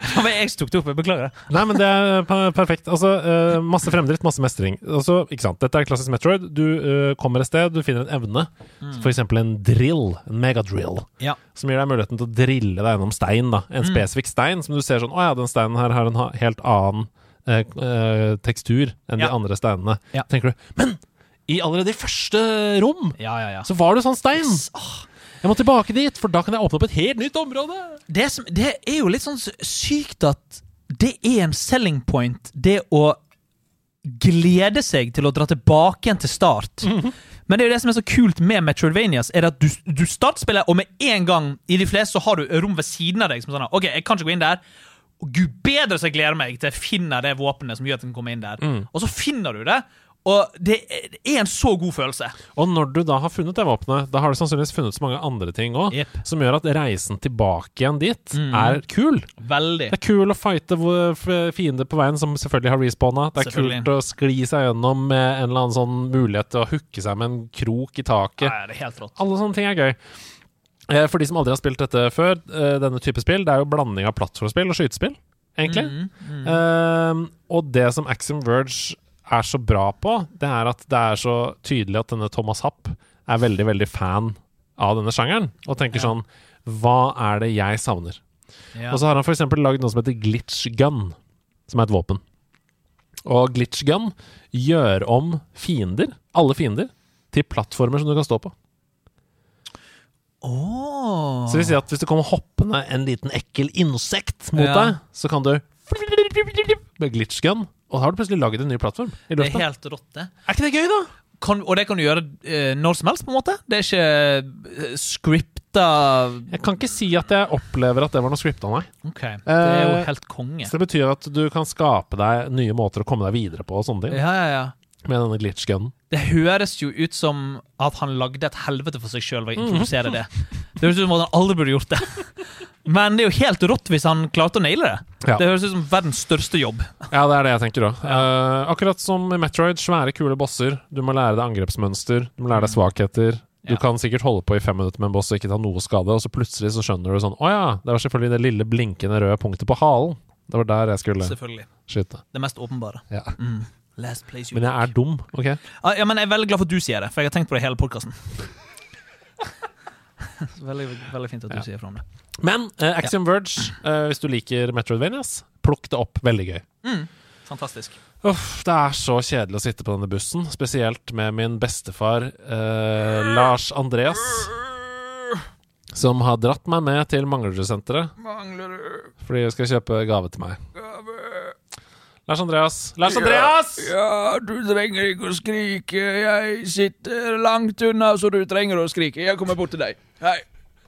Speaker 2: Det var jeg som tok det opp. Jeg beklager. det.
Speaker 1: Nei, men det er per- perfekt. Altså, eh, masse fremdrift, masse mestring. Altså, ikke sant? Dette er klassisk Metroid. Du eh, kommer et sted, du finner en evne.
Speaker 2: Mm.
Speaker 1: For eksempel en drill, en megadrill,
Speaker 2: Ja.
Speaker 1: som gir deg muligheten til å drille deg gjennom stein. da. En
Speaker 2: Mm.
Speaker 1: spesifikk stein som du ser sånn Å ja, den steinen her har en ha- helt annen eh, eh, tekstur enn de
Speaker 2: Ja.
Speaker 1: andre steinene.
Speaker 2: Ja.
Speaker 1: Tenker du, Men i allerede i første rom
Speaker 2: Ja, ja, ja.
Speaker 1: så var det sånn stein! Jeg må tilbake dit, for da kan jeg åpne opp et helt nytt område!
Speaker 2: Det, som, det er jo litt sånn s- sykt at det er en selling point, det å glede seg til å dra tilbake igjen til start.
Speaker 1: Mhm.
Speaker 2: Men det er jo det som er så kult med Metroidvanias, er at du, du startspiller, og med en gang i de fleste så har du rom ved siden av deg som sånn OK, jeg kan ikke gå inn der. Og Gud bedre så jeg gleder meg til jeg finner det våpenet som gjør at jeg kan komme inn der.
Speaker 1: Mm.
Speaker 2: Og så finner du det, og det er- det er en så god følelse.
Speaker 1: Og når du da har funnet det våpenet, da har du sannsynligvis funnet så mange andre ting òg,
Speaker 2: Jepp.
Speaker 1: som gjør at reisen tilbake igjen dit er kul.
Speaker 2: Veldig.
Speaker 1: Det er kul å fighte hvor- f- fiender på veien som selvfølgelig har respawna. Det er
Speaker 2: Selvfølgelig.
Speaker 1: kult å skli seg gjennom med en eller annen sånn mulighet til å hooke seg med en krok i taket.
Speaker 2: Ja, ja, det er helt rått.
Speaker 1: Alle sånne ting er gøy. Eh, For de som aldri har spilt dette før, eh, denne type spill, det er jo blanding av plattformspill og skytespill, egentlig.
Speaker 2: Mm.
Speaker 1: Eh, og det som Axiom Verge er så bra på, det er at det er så tydelig at denne Thomas Happ er veldig, veldig fan av denne sjangeren, og tenker
Speaker 2: Ja.
Speaker 1: sånn Hva er det jeg savner?
Speaker 2: Ja.
Speaker 1: Og så har han for eksempel lagd noe som heter glitch gun, som er et våpen. Og glitch gun gjør om fiender, alle fiender, til plattformer som du kan stå på.
Speaker 2: Åh.
Speaker 1: Så det vil si at hvis det kommer hoppende en liten ekkel insekt mot
Speaker 2: Ja.
Speaker 1: deg, så kan du med glitch gun, og da har du plutselig laget en ny plattform i
Speaker 2: Det er
Speaker 1: lufta. Er,
Speaker 2: helt rått, det.
Speaker 1: ikke det gøy, da?
Speaker 2: kan, og det kan du gjøre eh, når som helst, på en måte. Det er ikke eh, scripta
Speaker 1: Jeg kan ikke si at jeg opplever at det var noe scripta, nei.
Speaker 2: Ok, det er jo
Speaker 1: Eh,
Speaker 2: helt konge.
Speaker 1: Så det betyr at du kan skape deg nye måter å komme deg videre på og sånne ting.
Speaker 2: Ja, ja, ja.
Speaker 1: Med denne glitch-gunnen.
Speaker 2: Det høres jo ut som at han lagde et helvete for seg sjøl ved å introdusere det. Det høres ut som at han aldri burde gjort det. Men det er jo helt rått hvis han klarte å naile det.
Speaker 1: Ja.
Speaker 2: Det høres ut som verdens største jobb.
Speaker 1: Ja, det er det jeg tenker òg. akkurat som i Metroid, svære, kule bosser. Du må lære deg angrepsmønster, du må lære deg svakheter. Du
Speaker 2: Ja.
Speaker 1: kan sikkert holde på i fem minutter med en boss og ikke ta noe skade, og så plutselig så skjønner du sånn Å ja, det var selvfølgelig det lille blinkende røde punktet på halen. Det var der jeg skulle
Speaker 2: Selvfølgelig.
Speaker 1: skyte.
Speaker 2: Det mest åpenbare.
Speaker 1: Ja.
Speaker 2: Mm. Last place you
Speaker 1: Men jeg er dum, OK?
Speaker 2: Ah, Ja, men jeg er veldig glad for at du sier det, for jeg har tenkt på det hele podkasten. veldig, veldig fint at du
Speaker 1: Ja.
Speaker 2: sier fra om det.
Speaker 1: Men eh, Axiom Verge, eh, hvis du liker Metroidvanias, plukk det opp. Veldig gøy.
Speaker 2: Fantastisk.
Speaker 1: Uff, det er så kjedelig å sitte på denne bussen, spesielt med min bestefar eh, Lars Andreas, som har dratt meg med til Manglerudsenteret
Speaker 2: Mangler
Speaker 1: fordi hun skal kjøpe gave til meg.
Speaker 2: gave?
Speaker 1: Lars Andreas! Lars Andreas!
Speaker 2: Ja, du trenger ikke å skrike. Jeg sitter langt unna, så du trenger å skrike. Jeg kommer bort til deg. Hei.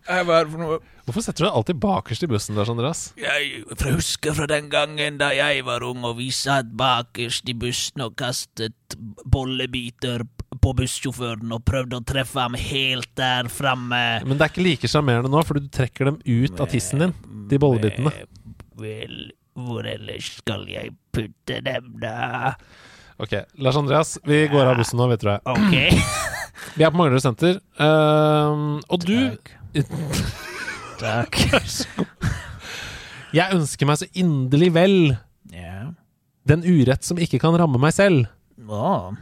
Speaker 2: Hei, hva er det for noe?
Speaker 1: Hvorfor setter du deg alltid bakerst i bussen, Lars Andreas?
Speaker 2: Jeg husker fra den gangen da jeg var ung og vi satt bakerst i bussen og kastet bollebiter på bussjåføren og prøvde å treffe ham helt der framme.
Speaker 1: Men det er ikke like sjarmerende nå, fordi du trekker dem ut av tissen din, de bollebitene.
Speaker 2: Vel, hvor ellers skal jeg putte dem, da?
Speaker 1: Ok, Lars Andreas, vi går av bussen nå, vet du det.
Speaker 2: Ok.
Speaker 1: Vi er på Manglerud senter, eh, og du
Speaker 2: Takk.
Speaker 1: Jeg ønsker meg så inderlig vel
Speaker 2: Ja.
Speaker 1: den urett som ikke kan ramme meg selv,
Speaker 2: Å.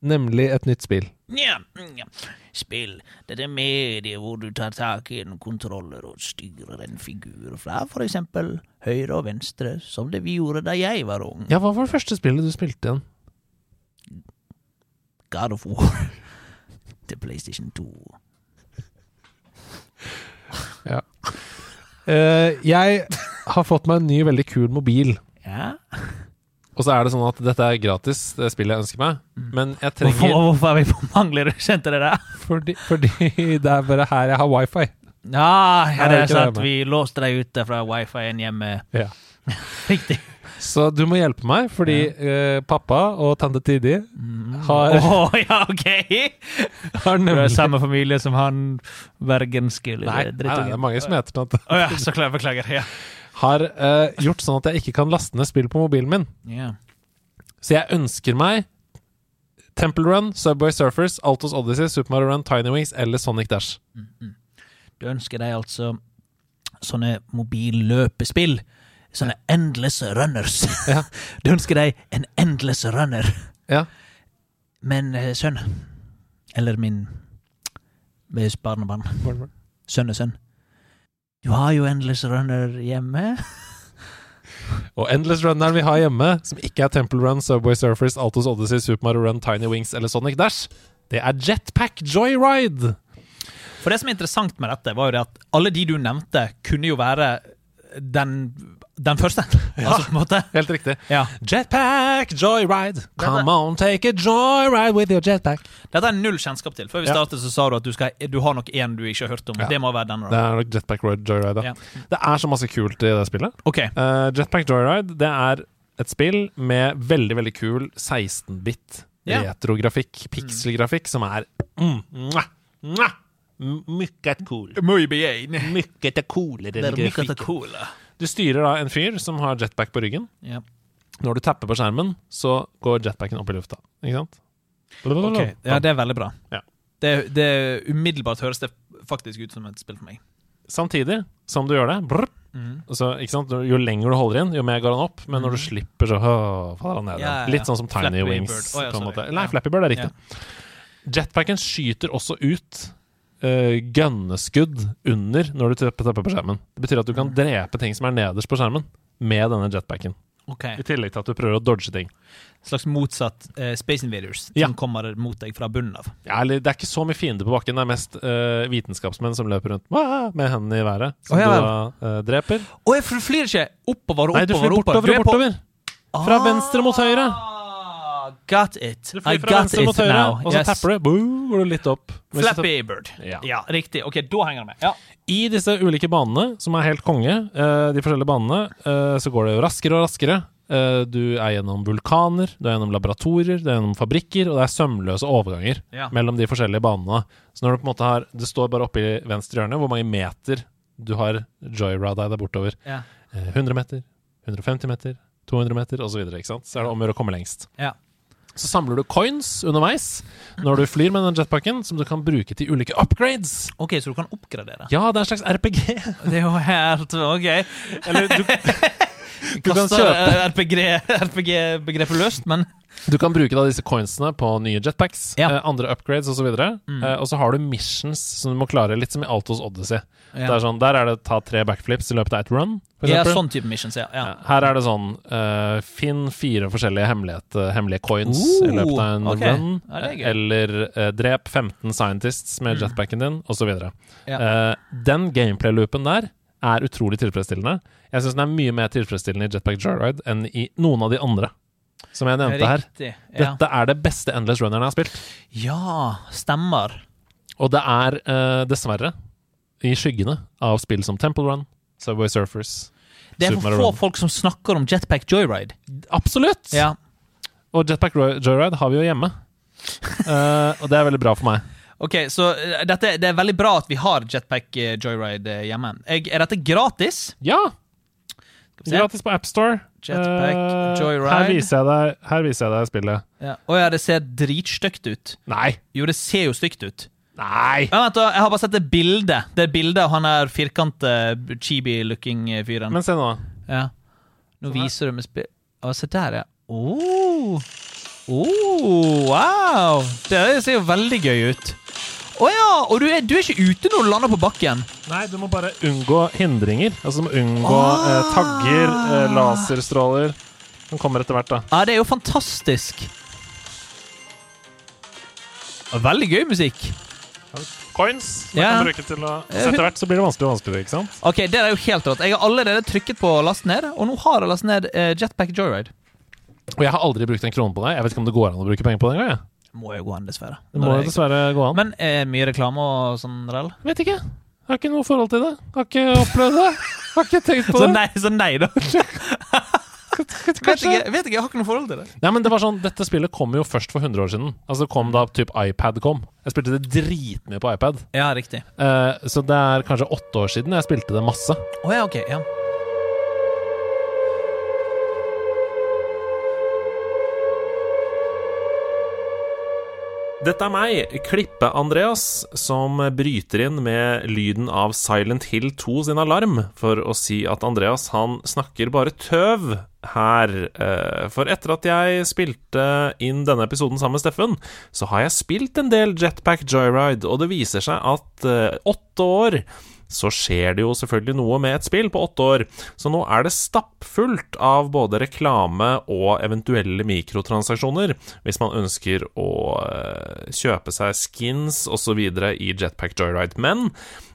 Speaker 1: nemlig et nytt spill.
Speaker 2: Nja, nja. Spill. Dette er mediet hvor du tar tak i en kontroller og styrer en figur fra for eksempel høyre og venstre, som det vi gjorde da jeg var ung.
Speaker 1: Ja, hva var det første spillet du spilte igjen?
Speaker 2: God of War til PlayStation 2. Eh,
Speaker 1: jeg har fått meg en ny, veldig kul mobil.
Speaker 2: Ja?
Speaker 1: Og så er det sånn at dette er gratis, det spillet jeg ønsker meg. Men jeg
Speaker 2: Hvorfor,
Speaker 1: trenger
Speaker 2: hvorfor er vi på Manglerud? Skjønte dere det?
Speaker 1: fordi, fordi det er bare her jeg har wifi.
Speaker 2: Ja, ja,
Speaker 1: Nei,
Speaker 2: det er
Speaker 1: ikke det,
Speaker 2: sant.
Speaker 1: men-
Speaker 2: Vi låste deg ute fra wifi-en hjemme.
Speaker 1: Ja.
Speaker 2: Riktig.
Speaker 1: Så du må hjelpe meg, fordi eh, pappa og tante Tidi
Speaker 2: Å
Speaker 1: har,
Speaker 2: ja, OK!
Speaker 1: har
Speaker 2: Du er
Speaker 1: nemlig
Speaker 2: samme familie som han bergenske lille
Speaker 1: Nei, nei, nei, det er mange som heter tante.
Speaker 2: Å ja, så klart. Beklager. Ja.
Speaker 1: Har eh, gjort sånn at jeg ikke kan laste ned spill på mobilen min. Så jeg ønsker meg Temple Run, Subway Surfers, Altos Odyssey, Super Mario Run, Tiny Wings eller Sonic Dash.
Speaker 2: Du ønsker deg altså sånne mobilløpespill. Sånne endless runners.
Speaker 1: Ja.
Speaker 2: Du ønsker deg en endless runner.
Speaker 1: Ja.
Speaker 2: Men eh, sønn, eller min eh, barnebarn, sønnesønn Du har jo endless runner hjemme.
Speaker 1: Og Endless Runneren vi har hjemme, som ikke er Temple Run, Subway Surfers, Altos Odyssey, Super Mario Run, Tiny Wings eller Sonic Dash, det er Jetpack Joyride.
Speaker 2: For det som er interessant med dette, var jo det at alle de du nevnte, kunne jo være den, den første. Altså, på en måte.
Speaker 1: Helt riktig.
Speaker 2: Ja.
Speaker 1: Jetpack Joyride,
Speaker 2: Dette-
Speaker 1: come on, take a joyride with your jetpack.
Speaker 2: Dette er null kjennskap til. Før vi
Speaker 1: Ja.
Speaker 2: startet, så sa du at du, skal, du har nok én du ikke har hørt om.
Speaker 1: Ja.
Speaker 2: Det må være den.
Speaker 1: Det
Speaker 2: da.
Speaker 1: er nok Jetpack Roy- Joyride, da.
Speaker 2: Ja.
Speaker 1: Det er så masse kult i det spillet.
Speaker 2: Ok.
Speaker 1: Eh, Jetpack Joyride, det er et spill med veldig, veldig kul 16-bit
Speaker 2: Ja.
Speaker 1: retrografikk, pikselgrafikk, som er mm, mwah, mwah, m- mykket cool.
Speaker 2: Muy bien.
Speaker 1: Mykket er coolere
Speaker 2: Det
Speaker 1: enn
Speaker 2: er mye
Speaker 1: grafikk.
Speaker 2: cola.
Speaker 1: Du styrer da en fyr som har jetpack på ryggen.
Speaker 2: Ja.
Speaker 1: Når du tapper på skjermen, så går jetpacken opp i lufta. Ikke sant?
Speaker 2: Ok, ja, det er veldig bra.
Speaker 1: Ja.
Speaker 2: Det, det Umiddelbart høres det faktisk ut som et spill for meg.
Speaker 1: Samtidig som du gjør det brr,
Speaker 2: Mhm.
Speaker 1: og så, ikke sant? Jo lenger du holder inn, jo mer går han opp. Men når du slipper, så åh, faller han ned.
Speaker 2: Ja, ja,
Speaker 1: igjen.
Speaker 2: ja.
Speaker 1: Litt sånn som Tiny
Speaker 2: Flappy
Speaker 1: Wings.
Speaker 2: Bird. Å,
Speaker 1: på
Speaker 2: ja,
Speaker 1: en
Speaker 2: sorry.
Speaker 1: måte. Nei,
Speaker 2: Ja.
Speaker 1: Flappy Bird er riktig. Jetpacken skyter også ut uh, gønneskudd under når du tepper tepper på skjermen. Det betyr at du
Speaker 2: Mm.
Speaker 1: kan drepe ting som er nederst på skjermen, med denne jetpacken.
Speaker 2: Ok,
Speaker 1: I tillegg til at du prøver å dodge ting.
Speaker 2: Slags motsatt eh, Space Invaders,
Speaker 1: Ja.
Speaker 2: som kommer mot deg fra bunnen av.
Speaker 1: Ja, eller Det er ikke så mye fiender på bakken, det er mest eh, vitenskapsmenn som løper rundt «Wah!» med hendene i været, som
Speaker 2: Å, ja
Speaker 1: du da eh, dreper.
Speaker 2: Å, jeg- for du flyr ikke oppover og oppover.
Speaker 1: Nei, du flyr
Speaker 2: og oppover.
Speaker 1: bortover
Speaker 2: Du er
Speaker 1: og
Speaker 2: på-
Speaker 1: bortover! Fra venstre mot høyre.
Speaker 2: Ah, got it.
Speaker 1: Du
Speaker 2: I
Speaker 1: flyr fra
Speaker 2: got
Speaker 1: venstre
Speaker 2: it
Speaker 1: mot høyre,
Speaker 2: now.
Speaker 1: og så
Speaker 2: Yes.
Speaker 1: tapper du. Boo, går du litt opp. Hvis du
Speaker 2: Flappy Bird.
Speaker 1: Ja.
Speaker 2: Ja, riktig. Ok, da henger det med. Ja.
Speaker 1: I disse ulike banene, som er helt konge, eh, de forskjellige banene, eh, så går det jo raskere og raskere. Eh, Du er gjennom vulkaner, du er gjennom laboratorier, du er gjennom fabrikker, og det er sømløse overganger
Speaker 2: Ja.
Speaker 1: mellom de forskjellige banene. Så når du på en måte har Det står bare oppe i venstre hjørne hvor mange meter du har joyrida deg bortover.
Speaker 2: Ja.
Speaker 1: Eh, 100 meter, 150 meter, 200 meter osv. Så, videre, ikke sant? så er det om å gjøre å komme lengst.
Speaker 2: Ja.
Speaker 1: Så samler du coins underveis når du flyr med den jetpacken, som du kan bruke til ulike upgrades.
Speaker 2: Ok, så du kan oppgradere.
Speaker 1: Ja, det er en slags RPG.
Speaker 2: Det er jo helt ok.
Speaker 1: Eller du, du kan
Speaker 2: Kaster
Speaker 1: kjøpe
Speaker 2: eh, RPG RPG-begrepet løst, men
Speaker 1: Du kan bruke da disse coinsene på nye jetpacks,
Speaker 2: Ja.
Speaker 1: eh, andre upgrades osv. Mm. Eh, og så har du missions som du må klare, litt som i Altos Odyssey.
Speaker 2: Ja.
Speaker 1: Det er sånn, der er det ta tre backflips i løpet av ett run, for
Speaker 2: Ja,
Speaker 1: eksempel.
Speaker 2: sånn type missions, ja. ja.
Speaker 1: Ja, Her er det sånn eh, Finn fire forskjellige hemmelighet, eh, hemmelige coins
Speaker 2: Ooh,
Speaker 1: i løpet av en
Speaker 2: ok.
Speaker 1: run.
Speaker 2: Ja, det er gøy. Mm.
Speaker 1: eller eh, drep 15 scientists med jetpacken din, osv.
Speaker 2: Ja.
Speaker 1: Eh, den gameplay-loopen der er utrolig tilfredsstillende. Jeg syns den er mye mer tilfredsstillende i Jetpack Joyride enn i noen av de andre som jeg nevnte her.
Speaker 2: Riktig. Ja.
Speaker 1: Dette er det beste Endless Runneren jeg har spilt.
Speaker 2: ja, stemmer.
Speaker 1: Og det er eh, dessverre i skyggene av spill som Temple Run, Subway Surfers
Speaker 2: Det er
Speaker 1: Super
Speaker 2: for
Speaker 1: Mario
Speaker 2: få
Speaker 1: Run.
Speaker 2: folk som snakker om Jetpack Joyride.
Speaker 1: Absolutt!
Speaker 2: Ja.
Speaker 1: Og Jetpack Roy- Joyride har vi jo hjemme. Eh, og det er veldig bra for meg.
Speaker 2: Ok, så eh, dette, det er veldig bra at vi har Jetpack eh, Joyride eh, hjemme. Jeg, er dette gratis?
Speaker 1: Ja!
Speaker 2: Skal vi se.
Speaker 1: Gratis på AppStore.
Speaker 2: Jetpack Joyride.
Speaker 1: Her viser, jeg deg, her viser jeg deg spillet.
Speaker 2: Ja. Å ja, det ser dritstygt ut.
Speaker 1: Nei!
Speaker 2: Jo, det ser jo stygt ut.
Speaker 1: Nei!
Speaker 2: Ja, vent, da, jeg har bare sett det bildet. Det er bildet av han der firkante, eh, chibi-looking eh, fyren.
Speaker 1: Men se nå.
Speaker 2: Ja. Nå
Speaker 1: Sånn her.
Speaker 2: viser du med spill... Å, se der, ja. Oh. Oh, wow! Det der ser jo veldig gøy ut. Å ja! Og du er, du er ikke ute når du lander på bakken.
Speaker 1: Nei, du må bare unngå hindringer. Altså du må unngå
Speaker 2: Ah.
Speaker 1: eh, tagger, eh, laserstråler som kommer etter hvert, da.
Speaker 2: Ja, det er jo fantastisk. Ja, Veldig gøy musikk.
Speaker 1: Coins man
Speaker 2: Ja.
Speaker 1: kan bruke til å Så etter hvert så blir det vanskelig og vanskeligere, ikke sant?
Speaker 2: Ok, det er jo helt rått. Jeg har allerede trykket på last ned, og nå har jeg last ned eh, Jetpack Joyride.
Speaker 1: Og jeg har aldri brukt en krone på det. Jeg vet ikke om det går an å bruke penger på det engang. jeg.
Speaker 2: Må jo gå an, dessverre.
Speaker 1: Det må jo dessverre gå an.
Speaker 2: Men eh, mye reklame og sånn rell?
Speaker 1: vet ikke. Har ikke noe forhold til det. Har ikke opplevd det. Har ikke tenkt på
Speaker 2: Så
Speaker 1: det.
Speaker 2: nei, så nei da. Vet
Speaker 1: Kanskje.
Speaker 2: ikke, vet ikke, jeg har ikke noe forhold til det.
Speaker 1: Nei, men det var sånn, Dette spillet kom jo først for 100 år siden. Altså det kom da typ iPad kom. Jeg spilte det dritmye på iPad.
Speaker 2: Ja, riktig.
Speaker 1: Eh, så det er kanskje åtte år siden jeg spilte det masse.
Speaker 2: Å ja, ok. Ja.
Speaker 1: Dette er meg, Klippe-Andreas, som bryter inn med lyden av Silent Hill 2 sin alarm for å si at Andreas han snakker bare tøv her. Eh, For etter at jeg spilte inn denne episoden sammen med Steffen, så har jeg spilt en del Jetpack Joyride, og det viser seg at eh, åtte år så skjer det jo selvfølgelig noe med et spill på åtte år. Så nå er det stappfullt av både reklame og eventuelle mikrotransaksjoner, hvis man ønsker å eh, kjøpe seg skins osv. i Jetpack Joyride. Men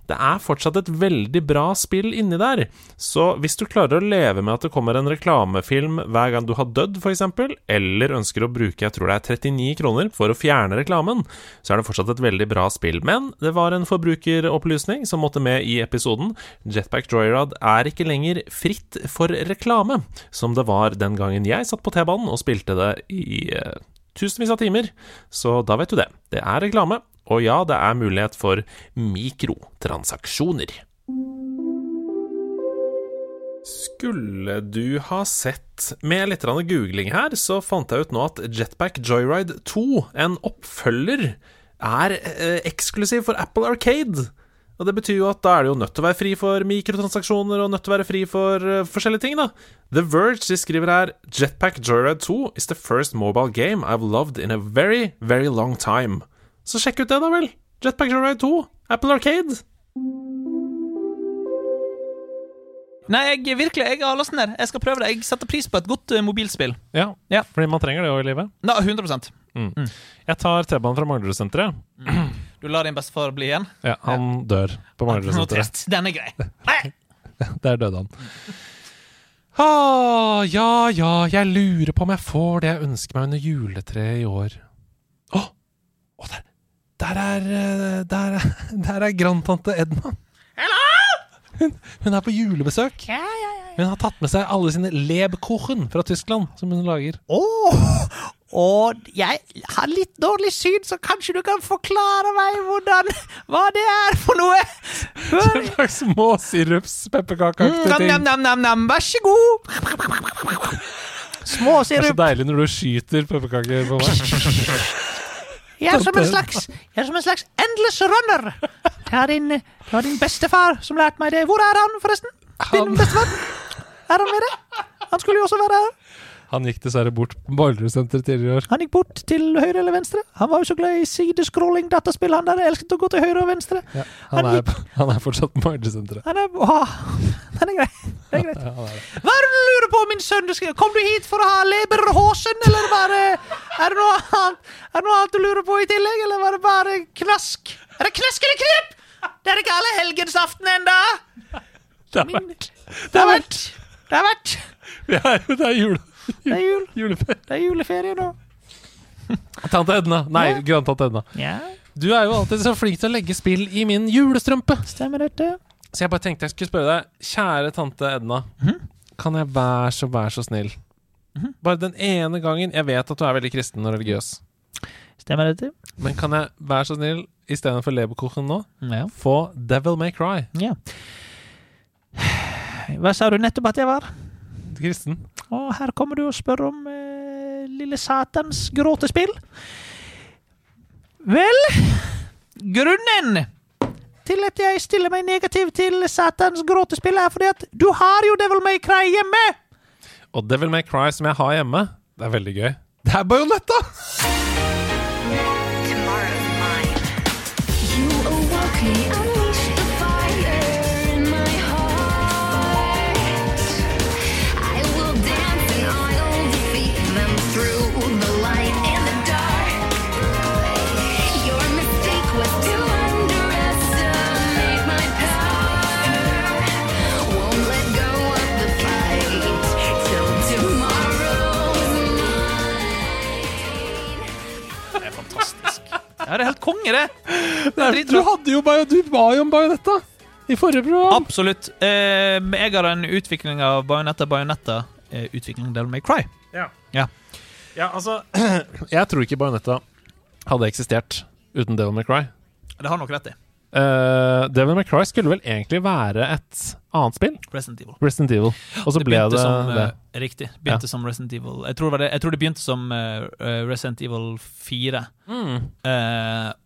Speaker 1: det er fortsatt et veldig bra spill inni der, så hvis du klarer å leve med at det kommer en reklamefilm hver gang du har dødd, f.eks., eller ønsker å bruke jeg tror det er 39 kroner for å fjerne reklamen, så er det fortsatt et veldig bra spill. Men det var en forbrukeropplysning som måtte med i episoden. Jetpack Joyride er ikke lenger fritt for reklame, som det var den gangen jeg satt på T-banen og spilte det i eh, tusenvis av timer. Så da vet du det. Det er reklame. Og ja, det er mulighet for mikrotransaksjoner. Skulle du ha sett Med litt grann googling her, så fant jeg ut nå at Jetpack Joyride 2, en oppfølger, er eh, eksklusiv for Apple Arcade. Og det betyr jo at da er det jo nødt til å være fri for mikrotransaksjoner, og nødt til å være fri for eh, forskjellige ting, da. The Verge de skriver her Jetpack Joyride 2 is the first mobile game I've loved in a very, very long time. Så sjekk ut det, da vel. Jetpack Joyride 2, Apple Arcade.
Speaker 2: Nei, jeg, virkelig, jeg har lasten ned. Jeg skal prøve det. Jeg setter pris på et godt eh, mobilspill.
Speaker 1: Ja,
Speaker 2: Ja.
Speaker 1: fordi man trenger det jo i livet.
Speaker 2: Nei, 100
Speaker 1: Jeg tar T-banen fra Manglerudsenteret.
Speaker 2: Du lar din bestefar bli igjen?
Speaker 1: Ja, han dør på Manglerudsenteret.
Speaker 2: Notert. Den er grei.
Speaker 1: Der døde han. Ah, ja ja, jeg lurer på om jeg får det jeg ønsker meg under juletreet i år. Å! å, der, der er eh, Der er, der er grandtante Edna.
Speaker 3: Hallo?
Speaker 1: Hun, hun er på julebesøk.
Speaker 3: Ja, ja, ja.
Speaker 1: Hun har tatt med seg alle sine Lebkuchen fra Tyskland, som hun lager.
Speaker 3: Åh, og jeg har litt dårlig syn, så kanskje du kan forklare meg hvordan, hva det er for noe? Hør.
Speaker 1: En slags små
Speaker 3: Mm,
Speaker 1: sirups-pepperkakeaktige ting.
Speaker 3: Nam-nam-nam, vær så god. Små
Speaker 1: Det er så
Speaker 3: sirup.
Speaker 1: deilig når du skyter pepperkaker på meg.
Speaker 3: Jeg er som en slags, jeg er som en slags endless runner. Det er din, det var din bestefar som lærte meg det. Hvor er han, forresten? Din
Speaker 1: Han-
Speaker 3: bestefar? Er han med deg? Han skulle jo også være her.
Speaker 1: Han gikk dessverre bort på Boilersenteret tidligere i år.
Speaker 3: Han gikk bort til høyre eller venstre. Han var jo så glad i sidescrolling, dataspill, han der. Elsket å gå til høyre og venstre.
Speaker 1: Han
Speaker 3: Han
Speaker 1: er, han er fortsatt på Boilersenteret.
Speaker 3: Han er, åh, den er grei. Det er greit.
Speaker 1: Ja, han er det.
Speaker 3: Hva er det du lurer på, min sønn? Du skal- Kom du hit for å ha leberhosen, eller bare Er det noe annet, er det noe annet du lurer på i tillegg, eller var det bare knask? Er det knask eller knep? Det er ikke alle helgensaften ennå.
Speaker 1: Det er,
Speaker 3: Min- Det har vært Det har vært
Speaker 1: vi er, jo- det er jule,
Speaker 3: Det er jul.
Speaker 1: juleferie.
Speaker 3: Det er juleferie nå.
Speaker 1: Tante Edna. Nei, grandtante Edna.
Speaker 3: Ja,
Speaker 1: Du er jo alltid så flink til å legge spill i min julestrømpe.
Speaker 3: stemmer dette?
Speaker 1: Så jeg bare tenkte jeg skulle spørre deg, kjære tante Edna. Kan jeg være så, være så snill? Bare den ene gangen. Jeg vet at du er veldig kristen og religiøs.
Speaker 2: Stemmer dette?
Speaker 1: Men kan jeg være så snill, istedenfor Leberkuchen nå,
Speaker 2: Ja.
Speaker 1: få Devil May Cry?
Speaker 2: ja. Hva sa du nettopp at jeg var?
Speaker 1: Kristen.
Speaker 2: Og her kommer du og spør om eh, lille satans gråtespill.
Speaker 3: Vel, grunnen til at jeg stiller meg negativ til Satans gråtespill, er fordi at du har jo Devil May Cry hjemme.
Speaker 1: Og Devil May Cry, som jeg har hjemme, det er veldig gøy. Det er Bajonetta!
Speaker 4: Tomorrow's mine.
Speaker 5: You awoke me, unleashed the fire in my heart. I will dance and I'll defeat them through the light and the dark. Your mistake was to underestimate my power. Won't let go of the fight till tomorrow's mine.
Speaker 2: Ja, det er helt konge, det!
Speaker 1: Det er- Du, hadde jo Bajo- du var jo om Bajonetta i forrige program.
Speaker 2: Absolutt. Eh, jeg har en utvikling av Bajonetta Bajonetta. Eh, utvikling Devil May Cry.
Speaker 1: Jeg tror ikke Bajonetta hadde eksistert uten Devil May Cry.
Speaker 2: Det har nok rett i.
Speaker 1: Eh, Devil May Cry skulle vel egentlig være et annet spill,
Speaker 2: Resident Evil.
Speaker 1: Resident Evil, og så ble
Speaker 2: begynte
Speaker 1: det
Speaker 2: som,
Speaker 1: det.
Speaker 2: eh, Riktig. Begynte som Resident Evil jeg tror, det var det, jeg tror det begynte som eh, eh, Resident Evil 4. Eh,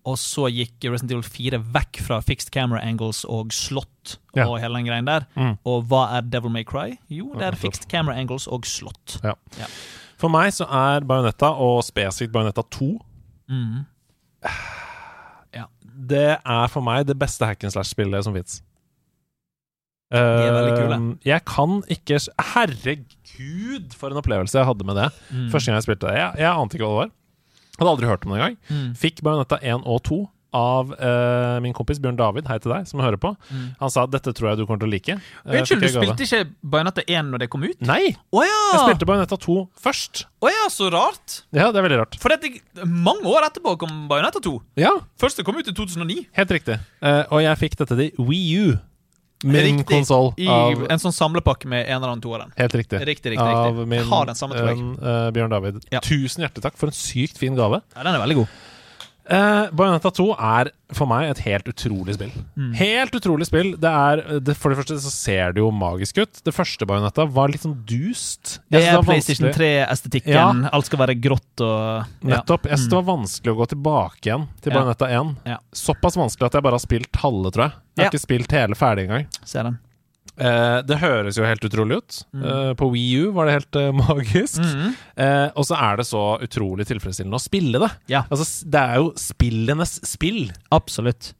Speaker 2: og så gikk Resident Evil 4 vekk fra fixed camera angles og slott
Speaker 1: Ja.
Speaker 2: og hele den greien der.
Speaker 1: Mm.
Speaker 2: Og hva er Devil May Cry? Jo, det
Speaker 1: nettopp.
Speaker 2: er fixed camera angles og slott.
Speaker 1: For meg så er Bajonetta, og spesifikt Bajonetta 2,
Speaker 2: Mm.
Speaker 1: det er for meg det beste hack and slash-spillet som fins. Eh,
Speaker 2: er veldig kule.
Speaker 1: jeg kan ikke Herregud, for en opplevelse jeg hadde med det.
Speaker 2: Mm.
Speaker 1: Første gang jeg spilte det. Jeg, jeg ante ikke hva det var. Hadde aldri hørt om det engang.
Speaker 2: Mm.
Speaker 1: Fikk Bajonetta 1 og 2 av eh, min kompis Bjørn David, hei til deg, som hører på.
Speaker 2: Mm.
Speaker 1: Han sa dette tror jeg du kommer til å like. Eh, fikk
Speaker 2: Unnskyld, du
Speaker 1: jeg gave.
Speaker 2: spilte ikke Bajonetta 1 når det kom ut?
Speaker 1: Nei!
Speaker 2: Å ja!
Speaker 1: Jeg spilte Bajonetta 2 først.
Speaker 2: Å ja, så rart!
Speaker 1: Ja, det er veldig rart.
Speaker 2: For dette, mange år etterpå kom Bajonetta 2.
Speaker 1: Ja,
Speaker 2: Første kom ut i 2009.
Speaker 1: Helt riktig. Eh, og jeg fikk dette til Wii U. Min
Speaker 2: Riktig.
Speaker 1: konsoll.
Speaker 2: I
Speaker 1: av-
Speaker 2: en sånn samlepakke med en eller annen toeren.
Speaker 1: Helt riktig.
Speaker 2: Riktig, riktig,
Speaker 1: Av
Speaker 2: riktig.
Speaker 1: min
Speaker 2: Jeg har den samme, tror jeg.
Speaker 1: venn, eh, Bjørn David.
Speaker 2: Ja.
Speaker 1: Tusen hjertelig takk for en sykt fin gave.
Speaker 2: Ja, den er veldig god.
Speaker 1: Uh, Bajonetta 2 er for meg et helt utrolig spill.
Speaker 2: Mm.
Speaker 1: Helt utrolig spill. Det er, det, for det første så ser det jo magisk ut. Det første Bajonetta var litt sånn dust.
Speaker 2: Det
Speaker 1: Jeg synes
Speaker 2: er
Speaker 1: var
Speaker 2: PlayStation
Speaker 1: vanskelig-
Speaker 2: 3-estetikken.
Speaker 1: Ja.
Speaker 2: Alt skal være grått og ja. Mm.
Speaker 1: Nettopp. Jeg synes det var vanskelig å gå tilbake igjen til
Speaker 2: Ja.
Speaker 1: Bajonetta 1.
Speaker 2: Ja.
Speaker 1: Såpass vanskelig at jeg bare har spilt halve, tror jeg. Jeg har
Speaker 2: Ja.
Speaker 1: ikke spilt hele ferdig engang.
Speaker 2: Ser den.
Speaker 1: Eh, det høres jo helt utrolig ut.
Speaker 2: Mm.
Speaker 1: Eh, på Wii U var det helt eh, magisk. Eh, og så er det så utrolig tilfredsstillende å spille det.
Speaker 2: Ja.
Speaker 1: Altså, s- det er jo spillenes spill.
Speaker 2: Absolutt.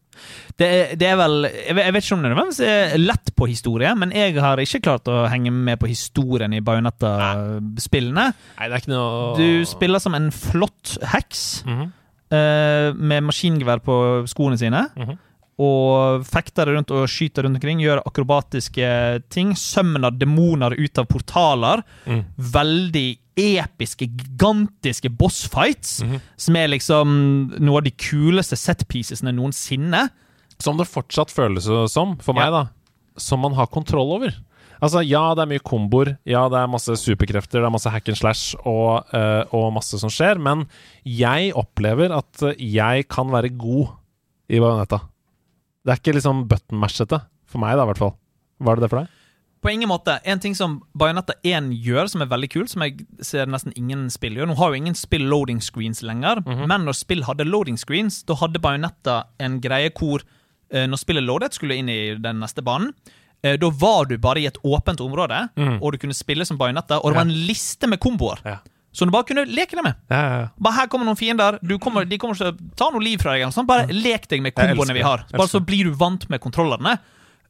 Speaker 2: Det er, det er vel Jeg vet jeg vet ikke om det nødvendigvis er lett på historie, men jeg har ikke klart å henge med på historien i Bajonetta-spillene.
Speaker 1: Nei, det er ikke noe
Speaker 2: Du spiller som en flott heks
Speaker 1: Mhm.
Speaker 2: eh, med maskingevær på skoene sine.
Speaker 1: Mhm.
Speaker 2: og fekter rundt og skyter rundt omkring, gjør akrobatiske ting. Sømner demoner ut av portaler.
Speaker 1: Mm.
Speaker 2: Veldig episke, gigantiske bossfights,
Speaker 1: Mhm.
Speaker 2: som er liksom noe av de kuleste setpiecesene noensinne.
Speaker 1: Som det fortsatt føles som, for
Speaker 2: Ja.
Speaker 1: meg, da. Som man har kontroll over. Altså, ja, det er mye komboer, ja, det er masse superkrefter, det er masse hack and slash og, eh, og masse som skjer, men jeg opplever at eh, jeg kan være god i bajonetta. Det er ikke liksom button-mashete. For meg, da, i hvert fall. Var det det for deg?
Speaker 2: På ingen måte. En ting som Bajonetta 1 gjør, som er veldig kult, som jeg ser nesten ingen spill gjør Nå har jo ingen spill loading screens lenger,
Speaker 1: Mhm.
Speaker 2: men når spill hadde loading screens, da hadde Bajonetta en greie hvor eh, når spillet loadet, skulle inn i den neste banen. eh, Da var du bare i et åpent område,
Speaker 1: Mhm.
Speaker 2: og du kunne spille som bajonetta. Og det var
Speaker 1: Ja.
Speaker 2: en liste med komboer
Speaker 1: Ja.
Speaker 2: som du bare kunne leke deg med.
Speaker 1: Ja, ja, ja.
Speaker 2: Bare Her kommer noen fiender. Du kommer, de kommer ikke til å ta noe liv fra deg. eller noe sånt. Bare lek deg med
Speaker 1: Mhm. Jeg elsker
Speaker 2: komboene vi
Speaker 1: det.
Speaker 2: har. Bare
Speaker 1: Elsker
Speaker 2: Så blir du vant med kontrollene.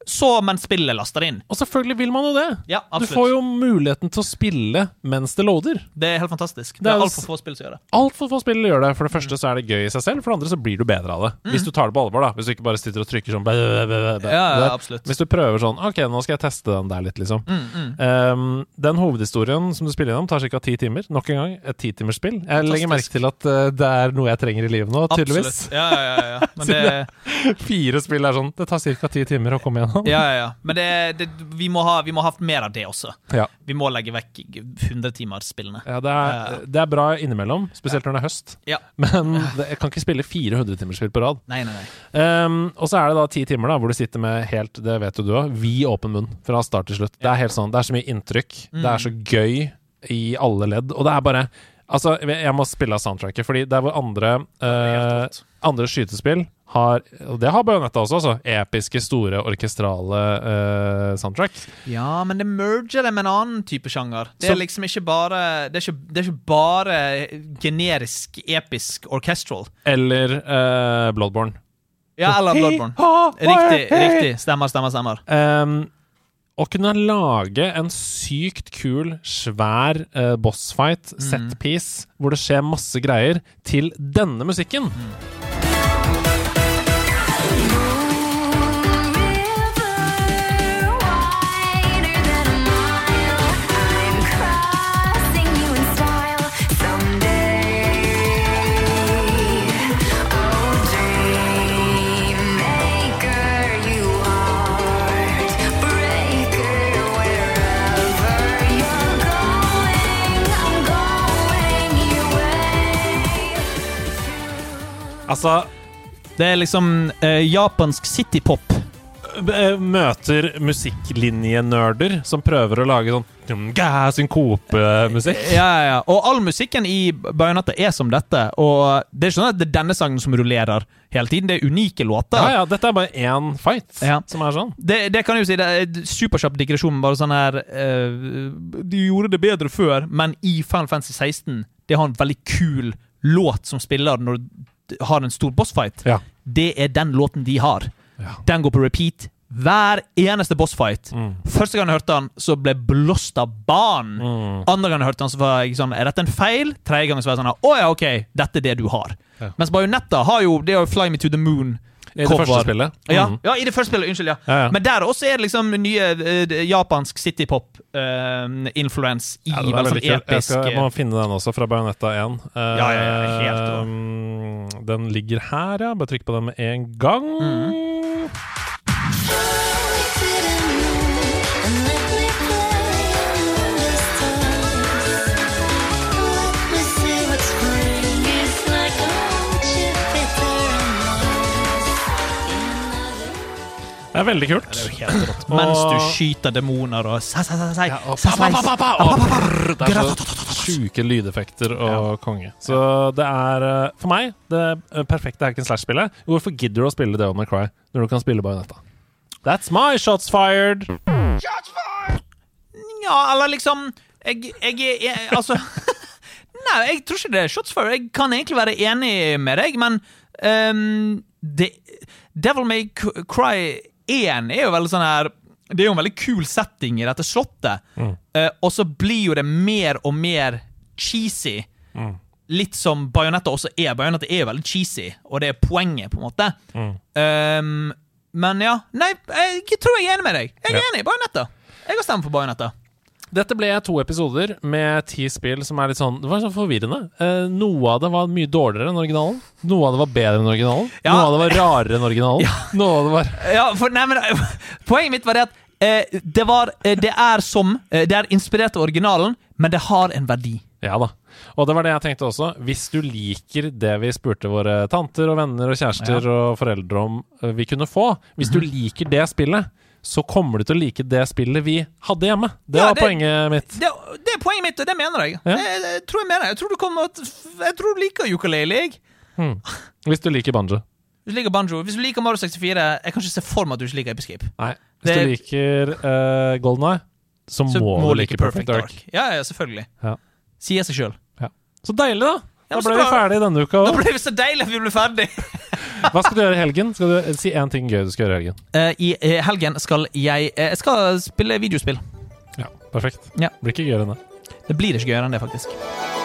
Speaker 2: Så mens spillet laster inn.
Speaker 1: Og selvfølgelig vil man jo det.
Speaker 2: Ja,
Speaker 1: Du
Speaker 2: absolutt.
Speaker 1: får jo muligheten til å spille mens det loader.
Speaker 2: Det er helt fantastisk. Det
Speaker 1: Det er
Speaker 2: er
Speaker 1: jo
Speaker 2: altfor få spill som gjør det.
Speaker 1: Altfor få spill gjør det. For det første så er det gøy i seg selv, for det andre så blir du bedre av det.
Speaker 2: Mm.
Speaker 1: Hvis du tar det på alvor, da. Hvis du ikke bare sitter og trykker sånn bæ, bæ, bæ, bæ, bæ. Det-
Speaker 2: absolutt.
Speaker 1: Hvis du prøver sånn Ok, nå skal jeg teste den der litt, liksom.
Speaker 2: Mm, mm.
Speaker 1: Ehm, den hovedhistorien som du spiller gjennom, tar ca. ti timer. Nok en gang et titimersspill. Jeg legger merke
Speaker 2: Fantastisk.
Speaker 1: til at eh, det er noe jeg trenger i livet nå, tydeligvis.
Speaker 2: Absolutt. Ja, ja, ja, ja. Men det,
Speaker 1: Fire spill er sånn Det tar ca. ti timer å komme gjennom.
Speaker 2: ja, ja, ja. Men det, det, vi, må ha, vi må ha mer av det også.
Speaker 1: Ja.
Speaker 2: Vi må legge vekk 100-timersspillene.
Speaker 1: Ja, det, er, det er bra innimellom, spesielt når det er høst.
Speaker 2: Ja.
Speaker 1: Men det, jeg kan ikke spille 400 timersspill på rad.
Speaker 2: Nei, nei, nei.
Speaker 1: Ehm, og så er det da ti timer da hvor du sitter med helt det vet jo du også, vid åpen munn fra start til slutt. Det er helt sånn, det er så mye inntrykk. Det er så gøy i alle ledd. Og det er bare Altså, jeg må spille av soundtracket, fordi det er hvor andre eh, Andre skytespill har Og det har Bajonetta også, altså. Episke, store, orkestrale eh, soundtrack.
Speaker 2: Ja, men det merger det med en annen type sjanger. Det
Speaker 1: Så-
Speaker 2: er liksom ikke bare Det er ikke, det er ikke bare generisk, episk orchestral.
Speaker 1: Eller eh, Bloodborne.
Speaker 2: Ja, eller Bloodborne. Riktig, riktig. Stemmer, stemmer, stemmer.
Speaker 1: Ehm, å kunne lage en sykt kul, svær eh, bossfight,
Speaker 2: Mm.
Speaker 1: setpiece, hvor det skjer masse greier, til denne musikken
Speaker 2: Mm.
Speaker 1: Altså,
Speaker 2: Det er liksom eh, japansk citypop.
Speaker 1: b- eh, møter musikklinjenerder som prøver å lage sånn ga, synkopemusikk.
Speaker 2: Ja, ja, ja. Og all musikken i Bajonetta er som dette. Og det er ikke sånn at det er denne sangen som rullerer hele tiden. Det er unike låter.
Speaker 1: Ja, ja, dette er bare én fight
Speaker 2: Ja.
Speaker 1: som er sånn.
Speaker 2: Det, det kan jeg jo si, det er et superkjapp digresjon, men bare sånn her eh, De gjorde det bedre før, men i Final Fantasy 16 Det har en veldig kul låt som spiller når du har en stor bossfight.
Speaker 1: Ja.
Speaker 2: Det er den låten de har.
Speaker 1: Ja.
Speaker 2: Den går på repeat hver eneste bossfight.
Speaker 1: Mm.
Speaker 2: Første gang jeg hørte den, så ble jeg blåst av banen.
Speaker 1: Mm.
Speaker 2: Andre gang jeg hørte den, så var jeg sånn Er dette en feil? Tredje gang så var jeg sånn Å ja, ok, dette er det du har.
Speaker 1: Ja.
Speaker 2: Mens Bajonetta har jo Det er jo Fly Me To The Moon.
Speaker 1: I det
Speaker 2: Cover.
Speaker 1: første spillet.
Speaker 2: Ja,
Speaker 1: Mm.
Speaker 2: ja, i det første spillet. Unnskyld, ja.
Speaker 1: Ja, ja.
Speaker 2: Men der også er det liksom nye eh, japansk citypop-influence i
Speaker 1: Ja, den er
Speaker 2: veldig
Speaker 1: veldig
Speaker 2: sånn
Speaker 1: kul. Jeg,
Speaker 2: episk
Speaker 1: skal, jeg må finne den også, fra Bajonetta 1. Eh,
Speaker 2: Ja, ja, ja, helt rå.
Speaker 1: mm, den ligger her, ja. Bare trykk på den med en gang. Det er veldig kult.
Speaker 2: Det er jo helt rått. Mens du
Speaker 1: Og-
Speaker 2: skyter demoner og sa, sa, sa, sa,
Speaker 1: Ja, og
Speaker 2: sa,
Speaker 1: pa, pa, pa,
Speaker 2: sa,
Speaker 1: pa,
Speaker 2: sa,
Speaker 1: og
Speaker 2: sa, sa,
Speaker 1: prrr, Det
Speaker 2: gra-
Speaker 1: er så sjuke lydeffekter og konge. Så det er eh, for meg det eh, perfekte hack and slash-spillet. Hvorfor gidder du å spille Devil May Cry når du kan spille Bajonetta? That's my shots fired!
Speaker 2: Ja, eller liksom Jeg, jeg, jeg Altså Nei, jeg tror ikke det er shots fired. Jeg kan egentlig være enig med deg, men ehm, det, Devil May C- Cry 1 er jo veldig sånn her Det er jo en veldig kul setting i dette slottet, Eh, og så blir jo det mer og mer cheesy. Litt som bajonetter også er. Bajonetter er jo veldig cheesy, og det er poenget, på en måte. Um, men ja. Nei, jeg tror jeg er enig med deg. Jeg er
Speaker 1: Ja.
Speaker 2: enig i bajonetter. Jeg har stemt for bajonetter.
Speaker 1: Dette ble to episoder med ti spill som er litt sånn Det var sånn forvirrende. Eh, noe av det var mye dårligere enn originalen. Noe av det var bedre enn originalen.
Speaker 2: Ja.
Speaker 1: Noe av det var rarere enn originalen. Noe av det var
Speaker 2: Ja, for, nei, men, poenget mitt var det at eh, det, var, eh, det er som eh, Det er inspirert av originalen, men det har en verdi.
Speaker 1: Ja da. Og det var det jeg tenkte også. Hvis du liker det vi spurte våre tanter og venner og kjærester og foreldre om eh, vi kunne få, hvis du liker det spillet, så kommer du til å like det spillet vi hadde hjemme. Det
Speaker 2: Ja,
Speaker 1: var
Speaker 2: det-
Speaker 1: poenget mitt.
Speaker 2: Det, det er poenget mitt, og det mener jeg.
Speaker 1: Ja.
Speaker 2: Jeg, jeg tror jeg mener det. Jeg tror du kommer til- Jeg tror du liker ukulele. jeg.
Speaker 1: Hvis du liker banjo.
Speaker 2: Hvis du liker banjo, hvis du liker Mario 64 Jeg kan ikke se for meg at du ikke liker Episcape.
Speaker 1: Nei. Hvis
Speaker 2: Det-
Speaker 1: du liker uh, Golden Eye, så,
Speaker 2: Så
Speaker 1: må, du like Perfect, Dark.
Speaker 2: Ja, ja, selvfølgelig.
Speaker 1: Ja.
Speaker 2: Sier seg sjøl.
Speaker 1: Så deilig, da!
Speaker 2: Ja, men
Speaker 1: Da
Speaker 2: så
Speaker 1: ble vi
Speaker 2: bra.
Speaker 1: ferdig denne uka
Speaker 2: Nå
Speaker 1: òg.
Speaker 2: ble vi så deilig at vi ble ferdig.
Speaker 1: Hva skal du gjøre i helgen? Skal du eh, Si én ting gøy du skal gjøre i helgen.
Speaker 2: Eh, I eh, helgen skal jeg eh, Jeg skal spille videospill.
Speaker 1: Ja, Perfekt.
Speaker 2: Ja.
Speaker 1: Blir ikke gøyere enn det.
Speaker 2: Det blir ikke gøyere enn det, faktisk.